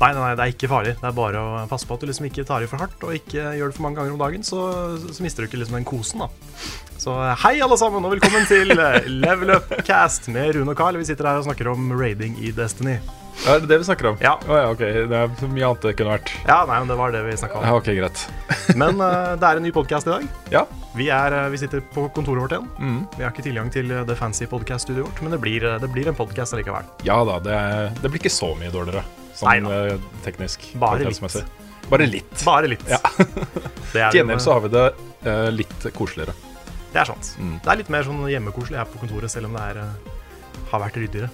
Nei, nei, nei, det er ikke farlig. Det er bare å passe på at du liksom ikke tar i for hardt, og ikke gjør det for mange ganger om dagen, så, så mister du ikke liksom den kosen, da. Så eh, hei, alle sammen, og velkommen til eh, Level Up Cast med Rune og Carl. Vi sitter her og snakker om raiding i Destiny. Ja, Er det det vi snakker om? Ja. Å ja, ok. Det er så mye annet det kunne vært. Ja, nei, men det var det vi snakka om. Ja, ok, greit. Men eh, det er en ny podkast i dag. Ja. Vi, er, eh, vi sitter på kontoret vårt igjen. Mm. Vi har ikke tilgang til eh, det fancy podcast-studioet vårt, men det blir, eh, det blir en podkast likevel. Ja da, det, er, det blir ikke så mye dårligere. Nei Sånn eh, teknisk. Bare litt. kvalitetsmessig. Bare litt. Bare litt. Ja. Det er Til gjengjeld jo- så har vi det eh, litt koseligere. Det er sant. Mm. Det er litt mer sånn hjemmekoselig her på kontoret, selv om det er, eh, har vært ryddigere.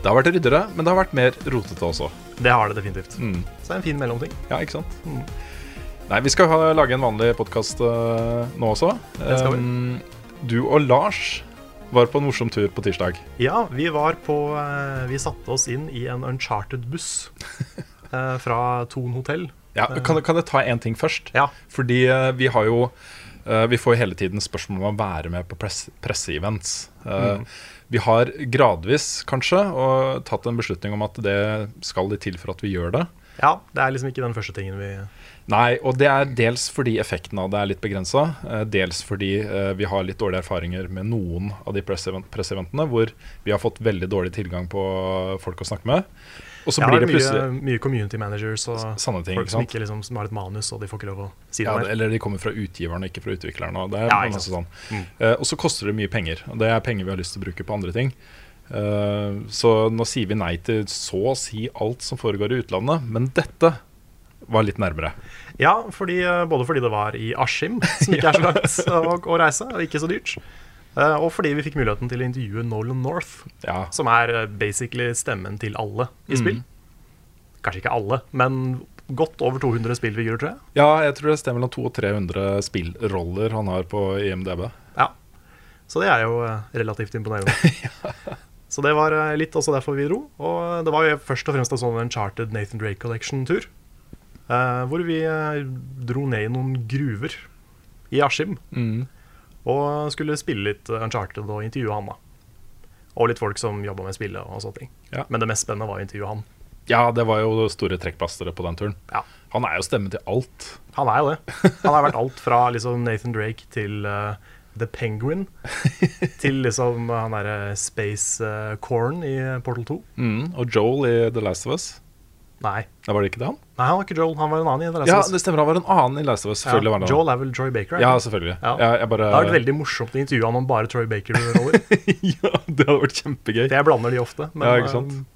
Det har vært ryddere, men det har vært mer rotete også. Det har det definitivt. Mm. Så det er en fin mellomting. Ja, ikke sant? Mm. Nei, vi skal ha, lage en vanlig podkast nå også. Det skal vi. Um, du og Lars var på en morsom tur på tirsdag. Ja, vi var på eh, Vi satte oss inn i en Uncharted-buss eh, fra Thon hotell. Ja, kan, kan jeg ta én ting først? Ja. Fordi eh, vi har jo eh, Vi får jo hele tiden spørsmål om å være med på press, presseevents. Eh, Mm. Vi har gradvis, kanskje, og tatt en beslutning om at det skal litt til for at vi gjør det. Ja, det er liksom ikke den første tingen vi Nei, og det er dels fordi effekten av det er litt begrensa. eh, Dels fordi eh, vi har litt dårlige erfaringer med noen av de presseevent- presseeventene hvor vi har fått veldig dårlig tilgang på folk å snakke med. Og så Jeg har blir det mye, plutselig mye community managers og Sanne ting, folk ikke som, sant? ikke liksom, som har et manus, og de får ikke lov å si Ja, noe det, mer. eller de kommer fra utgiveren og ikke fra utvikleren. Og det er Ja, ikke masse sånn. sant. Mm. Eh, og så koster det mye penger, og det er penger vi har lyst til å bruke på andre ting. Eh, så nå sier vi nei til så å si alt som foregår i utlandet, men dette var litt nærmere. Ja, fordi, eh, både fordi det var i Askim, som ikke er så langt å, å reise, og ikke så dyrt. eh, Og fordi vi fikk muligheten til å intervjue Nolan North, Ja, som er eh, basically stemmen til alle i spill. Kanskje ikke alle, men godt over 200 spillfigurer, tror jeg. ja jeg tror det stemmer mellom 200 og 300 spillroller han har på IMDb. Ja. Så det er jo eh, relativt imponerende. Så det var eh, litt også derfor vi dro. Og det var jo først og fremst en sånn Uncharted Nathan Drake Collection-tur. eh, hvor vi eh, dro ned i noen gruver i Askim. Og skulle spille litt eh, Uncharted og intervjue han, da. Og litt folk som jobba med spillet og sånne ting. Ja. Men det mest spennende var å intervjue han. Ja, det var jo store trekkplasteret på den turen. Ja. Han er jo stemme til alt. Han er jo det. Han har vært alt fra liksom Nathan Drake til eh, The Penguin til liksom han derre Space eh, Corn i Portal 2. Mm, og Joel i The Last of Us. Nei. Nei, var det ikke det han? Nei, han var ikke Joel. Han var en annen i The Last Ja, of Us. det stemmer. Han var en annen i Last of Us. Selvfølgelig var han det. Joel er vel Troy Baker? er Ja, altså, eh, det? selvfølgelig. Ja. Jeg, jeg bare Det har vært veldig morsomt å intervjue han om bare Troy Baker-roller. ja, det hadde vært kjempegøy. Jeg blander de ofte, men ja, ikke sant? eh,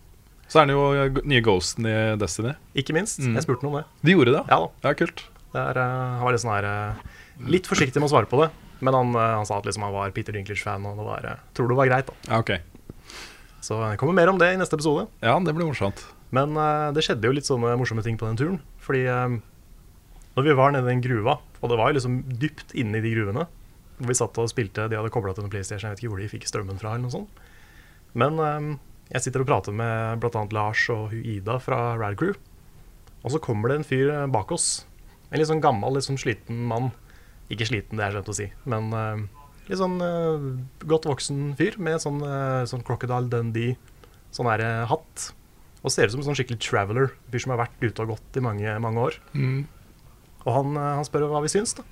Så er det jo eh, g- nye Ghosten i Destiny. ikke minst. Mm. Jeg spurte han om det. De gjorde det? Ja da. Ja, kult. Det er, eh, han var litt sånn her eh, Litt forsiktig med å svare på det, men han, eh, han sa at liksom han var Peter Dinklage-fan, og det var, eh, tror det var greit. da Ja, ok. Så det kommer mer om det i neste episode. Ja, det blir morsomt. Men eh, det skjedde jo litt sånne morsomme ting på den turen. Fordi uh, når vi var nede i den gruva, og det var jo liksom dypt inne i de gruvene hvor Vi satt og spilte, de hadde kobla til en PlayStation, jeg vet ikke hvor de fikk strømmen fra. eller noe sånt Men eh, jeg sitter og prater med bl.a. Lars og hun Ida fra Rad Crew. Og så kommer det en fyr eh, bak oss. En litt sånn gammel, litt sånn sliten mann. Ikke sliten, det er slemt å si, men eh, litt sånn eh, godt voksen fyr med sånn, eh, sånn Crocodile Dundee, sånn der, eh, hatt. Og ser ut som en sånn skikkelig traveler, en fyr som har vært ute og gått i mange, mange år. Og han, eh, han spør hva vi syns, da.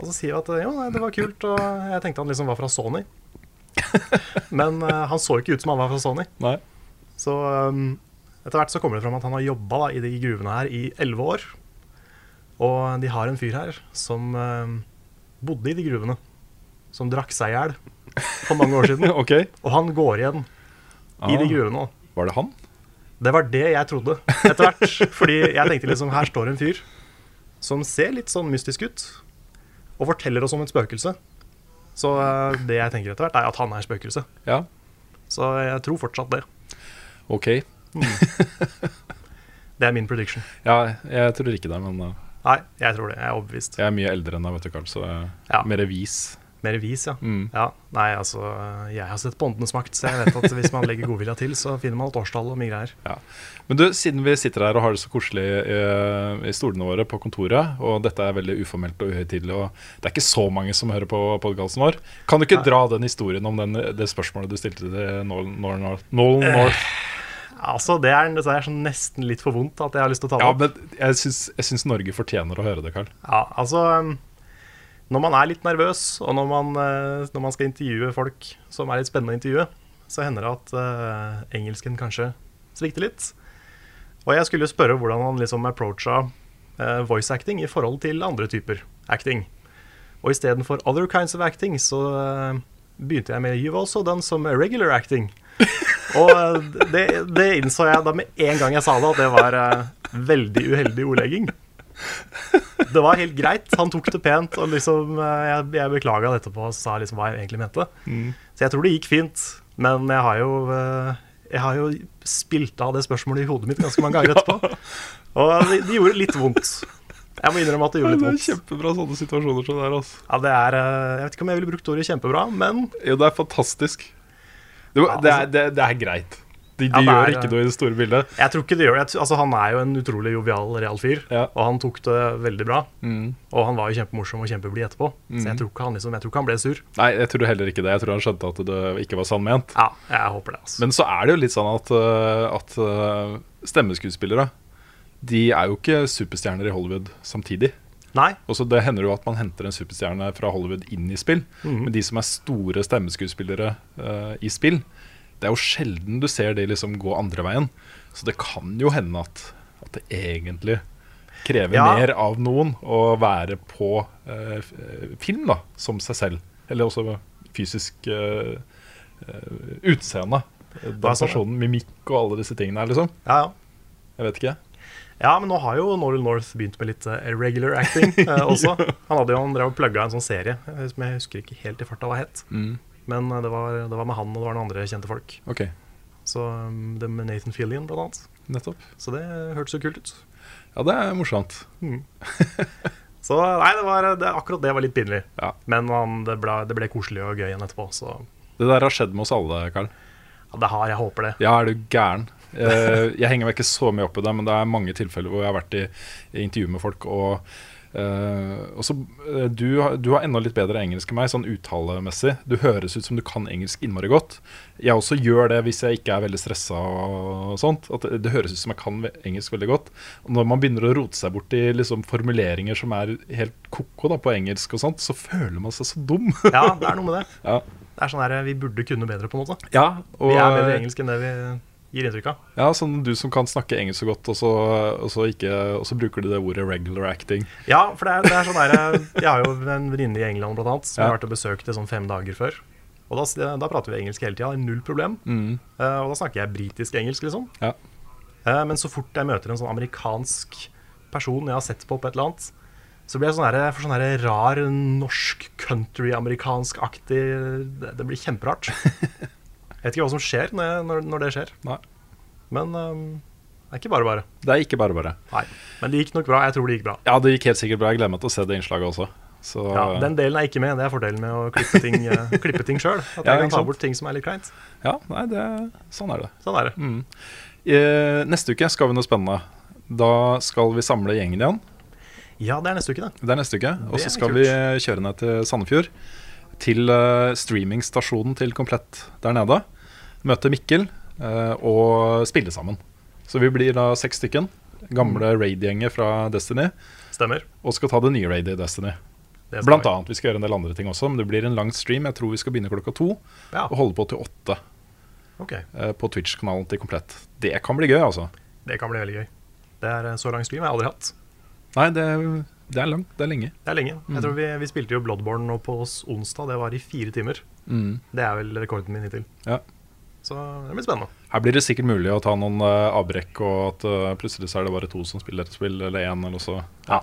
Og så sier vi at eh, jo, nei, det var kult, og jeg tenkte han liksom var fra Sony. Men eh, han så ikke ut som han var fra Sony. Nei. Så um, etter hvert så kommer det fram at han har jobba i de gruvene her i elleve år. Og de har en fyr her som um, bodde i de gruvene. Som drakk seg i hjel for mange år siden. Ok. Ah. Og han går igjen i de gruvene òg. Var det han? Det var det jeg trodde etter hvert. Fordi jeg tenkte liksom, her står en fyr som ser litt sånn mystisk ut, og forteller oss om et spøkelse. Så eh, det jeg tenker etter hvert, er at han er spøkelse. Ja. Så jeg tror fortsatt det. Ok. Det er min prediction. Ja, jeg tror ikke det, men eh, Nei, jeg tror det. Jeg er overbevist. jeg er mye eldre enn deg, vet du, Carl, så jeg er Ja. mer vis. Mer vis, ja. Mm. ja. Nei, altså, jeg har sett på Åndenes makt, så jeg vet at hvis man legger godvilja til, så finner man et årstall og mye greier. Ja. Men du, siden vi sitter her og har det så koselig eh, i stolene våre på kontoret, og dette er veldig uformelt og uhøytidelig, og det er ikke så mange som hører på podkasten vår, kan du ikke dra den historien om den, det spørsmålet du stilte til Nolan Nolan- Nolan North? Altså, det er, det er sånn nesten litt for vondt at jeg har lyst til å ta det Ja, opp. men jeg syns, jeg syns Norge fortjener å høre det, Carl. Ja, altså um, Når man er litt nervøs, og når man, eh, når man skal intervjue folk som er litt spennende å intervjue, så hender det at eh, engelsken kanskje svikter litt. Og jeg skulle jo spørre hvordan han liksom approacha eh, voice acting i forhold til andre typer acting. Og istedenfor other kinds of acting, så eh, begynte jeg med you've also done some regular acting. Og eh, det, det innså jeg da med en gang jeg sa det, at det var eh, veldig uheldig ordlegging. Det var helt greit. Han tok det pent, og liksom, eh, jeg, jeg beklaga det etterpå og sa liksom hva jeg egentlig mente. Så jeg tror det gikk fint, men jeg har jo eh, Jeg har jo spilt av det spørsmålet i hodet mitt ganske mange ganger etterpå. Og det, det gjorde litt vondt. Jeg må innrømme at det gjorde litt vondt. kjempebra sånne situasjoner som det er, altså. Ja, det er, eh, jeg vet ikke om jeg ville brukt ordet kjempebra, men Jo, det er fantastisk. Det, var- det, er, det, det er greit. De, de Ja, det gjør er- ikke noe i altså- det store bildet. jeg tror ikke det gjør det. Jeg tror- Altså, han er jo en utrolig jovial, real fyr, Ja. Mm. og han tok det veldig bra. Og han var jo kjempemorsom og kjempeblid etterpå, så jeg tror, ikke han liksom, jeg tror ikke han ble sur. Nei, jeg tror heller ikke det. Jeg tror han skjønte at det ikke var sann ment. Ja, jeg håper det. altså. Men så er det jo litt sånn at, øh, at øh, stemmeskuespillere De er jo ikke superstjerner i Hollywood samtidig. Nei, Og så Det hender jo at man henter en superstjerne fra Hollywood inn i spill. Men de som er store stemmeskuespillere øh, i spill, det er jo sjelden du ser de liksom gå andre veien. Så det kan jo hende at, at det egentlig krever Ja. mer av noen å være på øh, f- øh, film da, som seg selv. Eller også fysisk øh, øh, utseende. Ja, sånn, ja. Demonstrasjonen, mimikk og alle disse tingene her, liksom. ja, ja. Jeg vet ikke. Ja, men nå har jo Noral North begynt med litt eh, irregular acting eh, også. Han hadde jo han drev og plugga en sånn serie eh, som jeg husker ikke helt i farta hva het. Mm. Men eh, det var, det var med han og det var noen andre kjente folk. Ok, Så um, det med Nathan Fillion blant annet. nettopp. Så det hørtes jo kult ut. Ja, det er morsomt. Så nei, det var, det, akkurat det var litt pinlig. Ja. Men han, det, ble, det ble koselig og gøy igjen etterpå, så ja, Det der har skjedd med oss alle, Karl. det har jeg håper det. Ja, er du gæren? Eh, Jeg henger meg ikke så mye opp i det, men det er mange tilfeller hvor jeg har vært i, i intervju med folk, og, eh, og så eh, du, har- du har enda litt bedre engelsk enn meg, sånn uttalemessig. Du høres ut som du kan engelsk innmari godt. Jeg også gjør det hvis jeg ikke er veldig stressa og sånt. At det, det høres ut som jeg kan ve- engelsk veldig godt. Og når man begynner å rote seg bort i liksom formuleringer som er helt ko-ko da, på engelsk og sånt, så føler man seg så dum. Ja, det er noe med det. Ja. Det er sånn der, Vi burde kunne bedre, på en måte. Ja, og, eh, Vi er bedre i engelsk enn det vi gir inntrykk av. Ja, sånn du som kan snakke engelsk så godt, og så, og så, ikke, og så bruker du det ordet 'regular acting'. Ja, for det er, det er sånn der Jeg har jo en venninne i England blant annet som Ja. jeg har vært og besøkt i sånn fem dager før. Og da, s- eh, da prater vi engelsk hele tida, null problem. Eh, og da snakker jeg britisk engelsk, liksom. Mm. Ja. Eh, men så fort jeg møter en sånn amerikansk person jeg har sett på på et eller annet, så blir jeg sånn der, for sånn der rar norsk country-amerikansk-aktig det, det blir kjemperart. jeg vet ikke hva som skjer når, når, når det skjer. Nei. Men eh, det er ikke bare bare. Det er ikke bare bare. Nei. Men det gikk nok bra. Jeg tror det gikk bra. Ja, det gikk helt sikkert bra. Jeg gleder meg til å se det innslaget også. Så Ja, den delen er ikke med. Det er fordelen med å klippe ting, eh, klippe ting sjøl. At Ja, jeg ikke kan ta sant? bort ting som er litt kleint. ja, nei, det, sånn er det. Sånn er det. Mm. Eh, neste uke skal vi noe spennende. Da skal vi samle gjengen igjen. Ja, det er neste uke, det. Det er neste uke. Og Det så er skal kult. vi eh, kjøre ned til Sandefjord. Til eh, streamingstasjonen til Komplett der nede. Møte Mikkel eh, og spille sammen. Så vi blir da seks stykken. Gamle raid-gjenger fra Destiny. Stemmer. Og skal ta det nye raidet i Destiny. Det Blant stemmer. annet. Vi skal gjøre en del andre ting også, men det blir en lang stream. Jeg tror vi skal begynne klokka to Ja. og holde på til åtte Ok, eh, på Twitch-kanalen til Komplett. Det kan bli gøy, altså. Det kan bli veldig gøy. Det er eh, Så lang stream har jeg aldri hatt. Nei, det, det er langt. Det er lenge. Det er lenge. Mm. Jeg tror vi, vi spilte jo Bloodborne nå på s- onsdag. Det var i fire timer. Det er vel rekorden min hittil. Mm. Ja. Så det blir spennende. Her blir det sikkert mulig å ta noen eh, avbrekk, og at eh, plutselig så er det bare to som spiller et spill, eller én, eller så. Ja,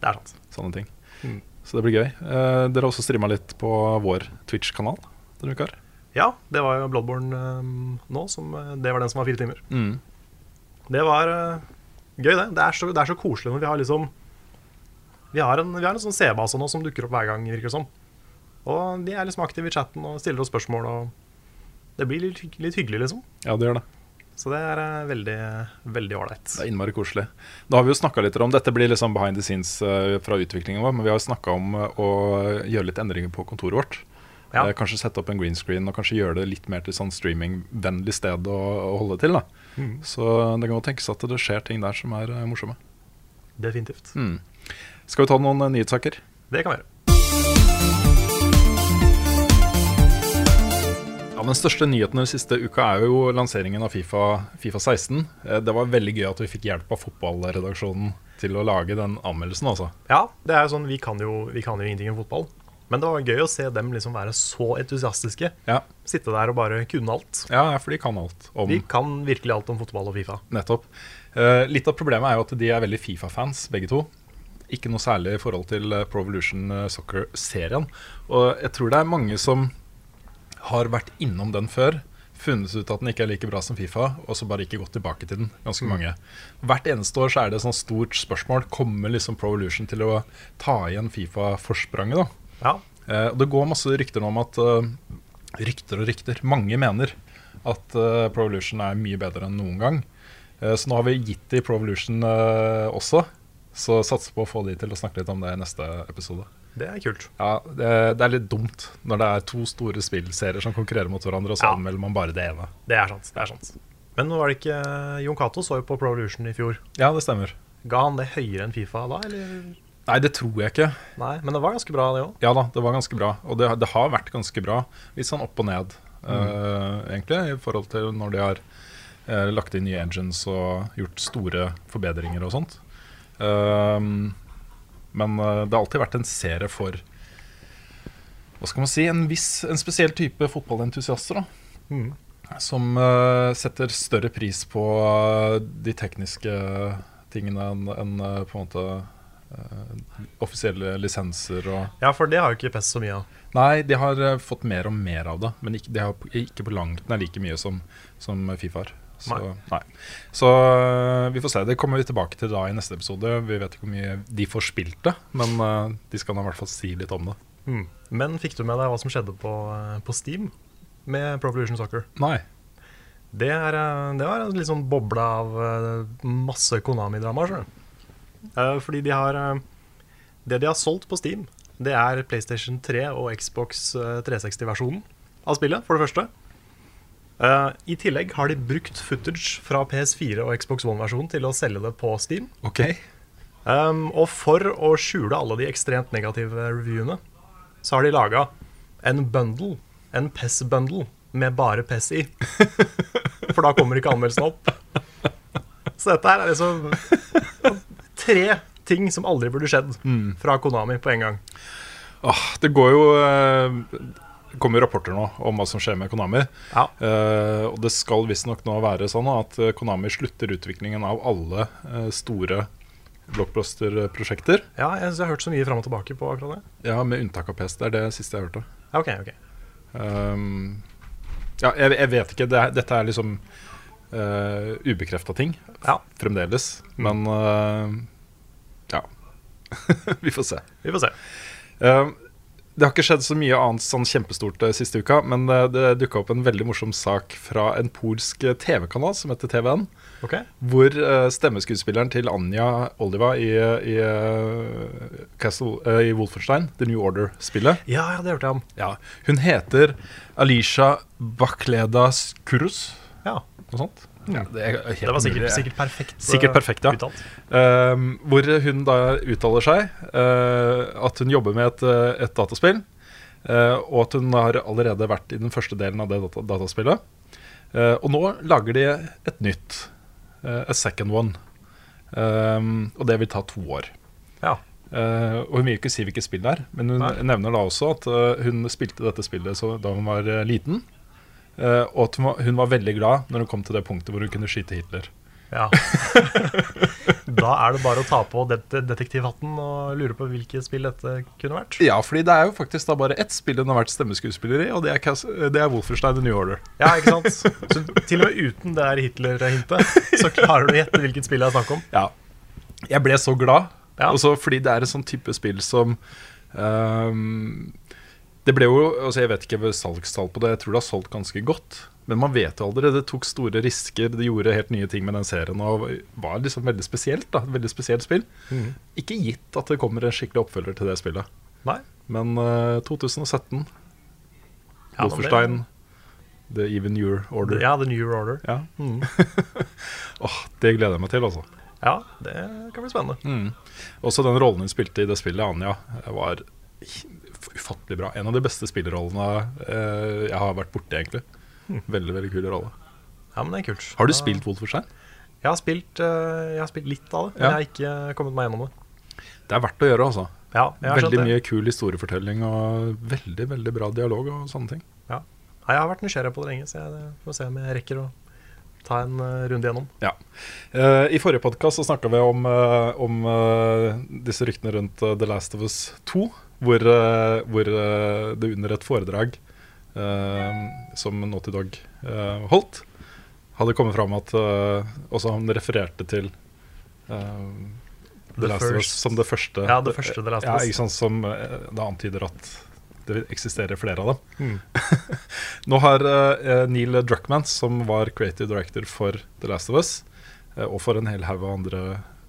Det er sant. sånne ting. Mm. Så det blir gøy. Eh, dere har også streama litt på vår Twitch-kanal denne uka. her. Ja, det var jo Bloodborne eh, nå. Som, eh, det var den som var fire timer. Mm. Det var eh, gøy, det. Det er, så, det er så koselig når vi har liksom Vi har en, vi har en sånn C-base nå som dukker opp hver gang, virker det som. Og de er liksom aktive i chatten og stiller oss spørsmål og Det blir litt, hygg- litt hyggelig, liksom. Ja, det gjør det. Så det er eh, veldig veldig ålreit. Det er innmari koselig. Da har vi jo snakka litt om Dette blir liksom behind the scenes eh, fra utviklingen vår, men vi har jo snakka om eh, å gjøre litt endringer på kontoret vårt. Ja. Eh, Kanskje sette opp en green screen og kanskje gjøre det litt mer til sånn streamingvennlig sted å, å holde til. da Så det kan jo tenkes at det skjer ting der som er eh, morsomme. Definitivt. Skal vi ta noen eh, nyhetssaker? Det kan være. Ja, Den største nyheten den siste uka er jo lanseringen av Fifa, FIFA 16. Eh, Det var veldig gøy at vi fikk hjelp av fotballredaksjonen til å lage den anmeldelsen. altså. Ja, det er jo sånn, vi kan jo, vi kan jo ingenting om fotball. Men det var gøy å se dem liksom være så entusiastiske. Ja, Sitte der og bare kunne alt. ja ja, for de kan alt om Vi kan virkelig alt om fotball og Fifa. nettopp. Eh, Litt av problemet er jo at de er veldig Fifa-fans, begge to. Ikke noe særlig i forhold til eh, Pro Evolution eh, Soccer-serien. Og jeg tror det er mange som har vært innom den før, funnet ut at den ikke er like bra som Fifa, og så bare ikke gått tilbake til den. Ganske mange. Hvert eneste år så er det et sånt stort spørsmål. Kommer liksom Pro Evolution til å ta igjen Fifa-forspranget, da? Ja, Eh, og det går masse rykter nå om at eh, Rykter og rykter. Mange mener at eh, Pro Evolution er mye bedre enn noen gang. Eh, så nå har vi gitt de Pro Evolution eh, også, så satser på å få de til å snakke litt om det i neste episode. det er kult. Ja, det, det er litt dumt når det er to store spillserier som konkurrerer mot hverandre, og så Ja. anmelder man bare det ene. Det er sant. det er sant. Men nå var det ikke eh, Jon Cato så jo på Pro Evolution i fjor. Ja, det stemmer. Ga han det høyere enn Fifa da, eller? Nei, det tror jeg ikke. Nei, men det var ganske bra, det òg. Ja da, det var ganske bra. Og det, det har vært ganske bra. Litt sånn opp og ned, eh, egentlig, i forhold til når de har eh, lagt inn nye engines og gjort store forbedringer og sånt. Ehm, men eh, det har alltid vært en serie for Hva skal man si? En, viss, en spesiell type fotballentusiaster. da Som eh, setter større pris på eh, de tekniske tingene enn enn, eh, på en måte eh, offisielle lisenser og Ja, for det har jo ikke PES så mye av. Nei, de har eh, fått mer og mer av det, men ikke, de har p- ikke på langt nær like mye som, som Fifa har. Så, Nei. nei. Så eh, vi får se. Det kommer vi tilbake til da i neste episode. Vi vet ikke hvor mye de får spilt det, men eh, de skal da i hvert fall si litt om det. Mm. Men fikk du med deg hva som skjedde på, eh, på Steam med Pro Evolution Soccer? Nei. Det, er, eh, det var en litt sånn boble av eh, masse Konami-drama. skjønner du. Eh, Fordi de har eh, Det de har solgt på Steam, det er PlayStation 3 og Xbox 360-versjonen av spillet, for det første. Eh, I tillegg har de brukt footage fra PS4 og Xbox One-versjonen til å selge det på Steam. Ok. Um, og for å skjule alle de ekstremt negative reviewene, så har de laga en bundle, en PES-bundle, med bare PES i. For da kommer ikke anmeldelsen opp. Så dette her er liksom tre ting som aldri burde skjedd fra Konami på en gang. Åh, det går jo eh, Det kommer jo rapporter nå om hva som skjer med Konami. Ja. Eh, og det skal visstnok nå være sånn at eh, Konami slutter utviklingen av alle eh, store blockbuster-prosjekter. Ja, jeg, synes jeg har hørt så mye fram og tilbake på akkurat det. Ja, med unntak av PS. Det er det siste jeg hørte. Ja, ok, ok. Um, ja, jeg, jeg vet ikke. Det er, dette er liksom uh, ubekrefta ting Ja, fremdeles. Men uh, ja. eh, Vi får se. vi får se. Eh, det har ikke skjedd så mye annet sånn kjempestort eh, siste uka, men eh, det dukka opp en veldig morsom sak fra en polsk eh, TV-kanal som heter TVN. Ok? Hvor eh, stemmeskuespilleren til Anja Oliva i, i, eh, Castle, eh, i Wolfenstein, The New Order-spillet Ja, ja, det hørte jeg om. ja, Hun heter Alisha Bakleda Skurus. Ja. Noe sånt. Ja, det, er helt Det var mulig. sikkert, sikkert perfekt. Sikkert eh, perfekt, ja. Uttalt. Ehm, hvor hun da uttaler seg eh, at hun jobber med et, eh, et dataspill, eh, og at hun har allerede vært i den første delen av det data dataspillet. Eh, og nå lager de et nytt, eh, a second one, Ehm, og det vil ta to år. Ja. Eh, og hun vil ikke si hvilket spill det er, men hun Nei. nevner da også at eh, hun spilte dette spillet så, da hun var eh, liten, eh, og at hun var, hun var veldig glad når hun kom til det punktet hvor hun kunne skyte Hitler. ja. da er det bare å ta på det det- detektivhatten og lure på hvilket spill dette kunne vært. Ja, fordi det er jo faktisk da bare ett spill hun har vært stemmeskuespiller i, og det er, Cas- det er Wolfenstein The New Order. Ja, ikke sant? Så til og med uten det her Hitler-hintet, så klarer du å gjette hvilket spill det er snakk om. Ja. Jeg ble så glad, Ja. også fordi det er en sånn type spill som ehm, Det ble jo altså Jeg vet ikke salgstall på det, jeg tror det har solgt ganske godt. Men man vet jo aldri. Det tok store risker, de gjorde helt nye ting med den serien. Og var liksom veldig spesielt, da. et Veldig spesielt spill. Mhm. Ikke gitt at det kommer en skikkelig oppfølger til det spillet. Nei. Men eh, Ja, men 2017, det- Wolfenstein, The Even Your Order. Ja, Mhm. The New Order. Ja. Åh, det gleder jeg meg til, altså. Ja, det kan bli spennende. Mm. Også den rollen hun spilte i det spillet, Anja, var h- ufattelig bra. En av de beste spillerollene eh, jeg har vært borti, egentlig. Veldig veldig kul rolle. Hmm. Ja, men det er kult. Har du Da- spilt Wolferstein? Jeg har spilt, eh, jeg har spilt litt av det, men Ja. jeg har ikke kommet meg gjennom det. Det er verdt å gjøre, altså. Ja, jeg har Veldig skjønt det. mye kul historiefortelling og veldig veldig bra dialog og sånne ting. Ja. Nei, jeg har vært nysgjerrig på det lenge, så jeg får se om jeg rekker å ta en eh, runde gjennom. Ja. Eh, I forrige podkast snakka vi om, eh, om eh, disse ryktene rundt eh, The Last of Us 2. Hvor, eh, hvor eh, det under et foredrag eh, som Naughty Dog eh, holdt, hadde kommet fram at eh, Også han refererte til eh, The, The Last of Us First. som det første. Ja, det første The Last of ja, Us. ikke sant, som eh, da antyder at det eksisterer flere av dem. Mm. Nå har eh, Neil Druckman, som var creative director for The Last of Us, eh, og for en hel haug av andre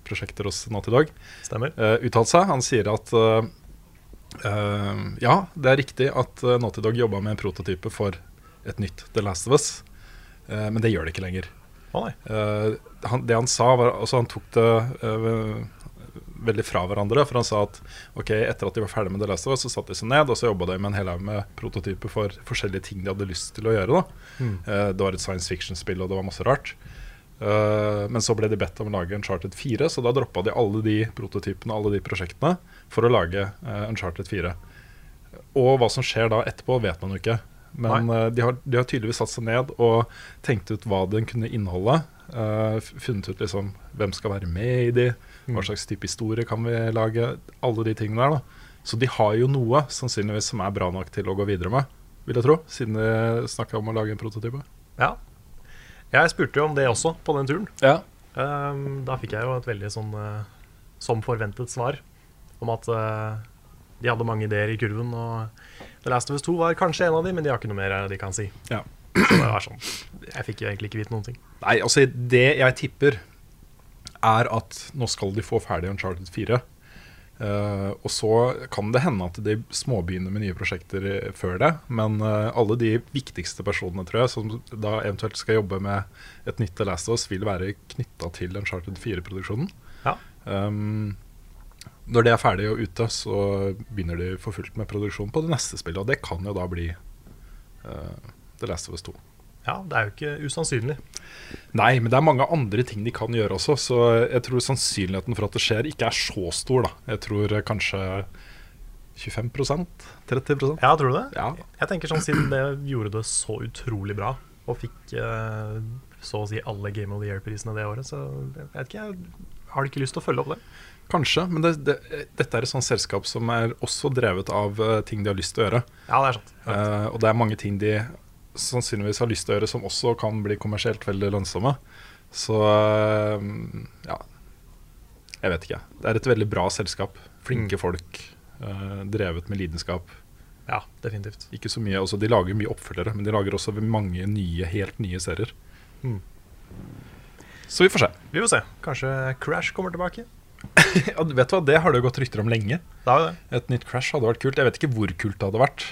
prosjekter hos Natt i dag, Stemmer? eh, uttalt seg. Han sier at eh, eh, ja, det er riktig at uh, Naughty Dog jobba med en prototype for et nytt The Last of Us, eh, men det gjør det ikke lenger. Å nei. Eh, han, det han sa, var altså Han tok det eh, veldig fra hverandre. For han sa at ok, etter at de var ferdig med The Last of Us, så satte de seg ned og så jobba de med en hel haug med prototyper for forskjellige ting de hadde lyst til å gjøre. da Eh, Det var et science fiction-spill, og det var masse rart. Eh, men så ble de bedt om å lage Uncharted 4, så da droppa de alle de prototypene alle de prosjektene for å lage eh, Uncharted 4. Og hva som skjer da etterpå, vet man jo ikke. Men eh, de, har, de har tydeligvis satt seg ned og tenkt ut hva den kunne inneholde. eh, f- funnet ut liksom hvem skal være med i de, hva slags type historie kan vi lage. Alle de tingene der. da Så de har jo noe sannsynligvis som er bra nok til å gå videre med, vil jeg tro. Siden de snakka om å lage en prototype. Ja. Jeg spurte jo om det også på den turen. Ja. Ehm, da fikk jeg jo et veldig sånn eh, som forventet svar om at eh, de hadde mange ideer i kurven, og The Last of Us 2 var kanskje en av de, men de har ikke noe mer eh, de kan si. ja. Så det var sånn. Jeg fikk jo egentlig ikke vite noen ting. Nei, altså det jeg tipper er at nå skal de få ferdig Uncharted 4. Eh, og så kan det hende at de småbegynner med nye prosjekter eh, før det. Men eh, alle de viktigste personene tror jeg som da eventuelt skal jobbe med et nytt The Last of Us, vil være knytta til Uncharted 4-produksjonen. Ja. Um, når det er ferdig og ute, så begynner de for fullt med produksjon på det neste spillet. Og det kan jo da bli eh, The Last of Us 2. ja, det er jo ikke usannsynlig. Nei, men det er mange andre ting de kan gjøre også, så jeg tror sannsynligheten for at det skjer, ikke er så stor. da. Jeg tror kanskje 25 30 Ja, tror du det? Ja. Jeg tenker sånn siden det gjorde det så utrolig bra, og fikk eh, så å si alle Game of the Year-prisene det året, så jeg vet ikke, jeg har ikke lyst til å følge opp det. Kanskje, men det, det, dette er et sånt selskap som er også drevet av eh, ting de har lyst til å gjøre. Ja, det er sant. Eh, og det er mange ting de sannsynligvis har lyst til å gjøre som også kan bli kommersielt veldig lønnsomme. Så eh, ja Jeg vet ikke. Det er et veldig bra selskap. Flinke folk. eh, drevet med lidenskap. Ja, definitivt. Ikke så mye, altså De lager mye oppfølgere, men de lager også mange nye, helt nye serier. Mm. Så vi får se. Vi får se. Kanskje Crash kommer tilbake. Ja, du vet du hva, Det har det jo gått rykter om lenge. Det er jo det. Et nytt Crash hadde vært kult. Jeg vet ikke hvor kult det hadde vært.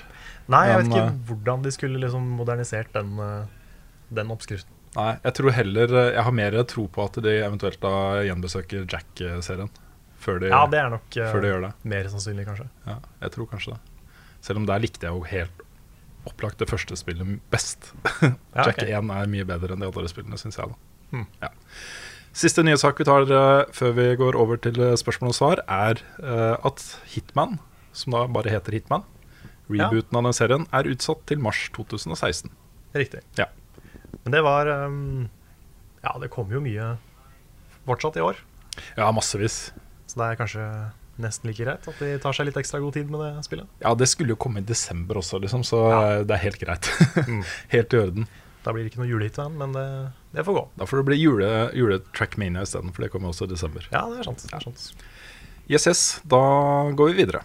Nei, jeg vet Men, eh, ikke hvordan de skulle liksom modernisert den, eh, den oppskriften. Nei, Jeg tror heller, eh, jeg har mer tro på at de eventuelt da gjenbesøker Jack-serien. Før, de- Ja, det er nok eh, før de gjør det. mer sannsynlig, kanskje. Ja, jeg tror kanskje det. Selv om der likte jeg jo helt opplagt det første spillet best. Ja, Jack ok. 1 er mye bedre enn de andre spillene, syns jeg. da. Hmm. Ja. Siste nye sak vi tar eh, før vi går over til eh, spørsmål og svar, er eh, at Hitman, som da bare heter Hitman, Ja. rebooten av den serien, er utsatt til mars 2016. Riktig. Ja. Men det var ehm, Ja, det kommer jo mye fortsatt i år, Ja, massevis. så det er kanskje nesten like greit at de tar seg litt ekstra god tid med det spillet. Ja, det skulle jo komme i desember også, liksom, så eh, det er helt greit. Hmm. helt i orden. Da blir det ikke noe julehitman, men det, det får gå. Da får det bli jule, juletrackmania isteden, for det kommer også i desember. Ja, det er sant. Det er sant. Yes, yes, da går vi videre.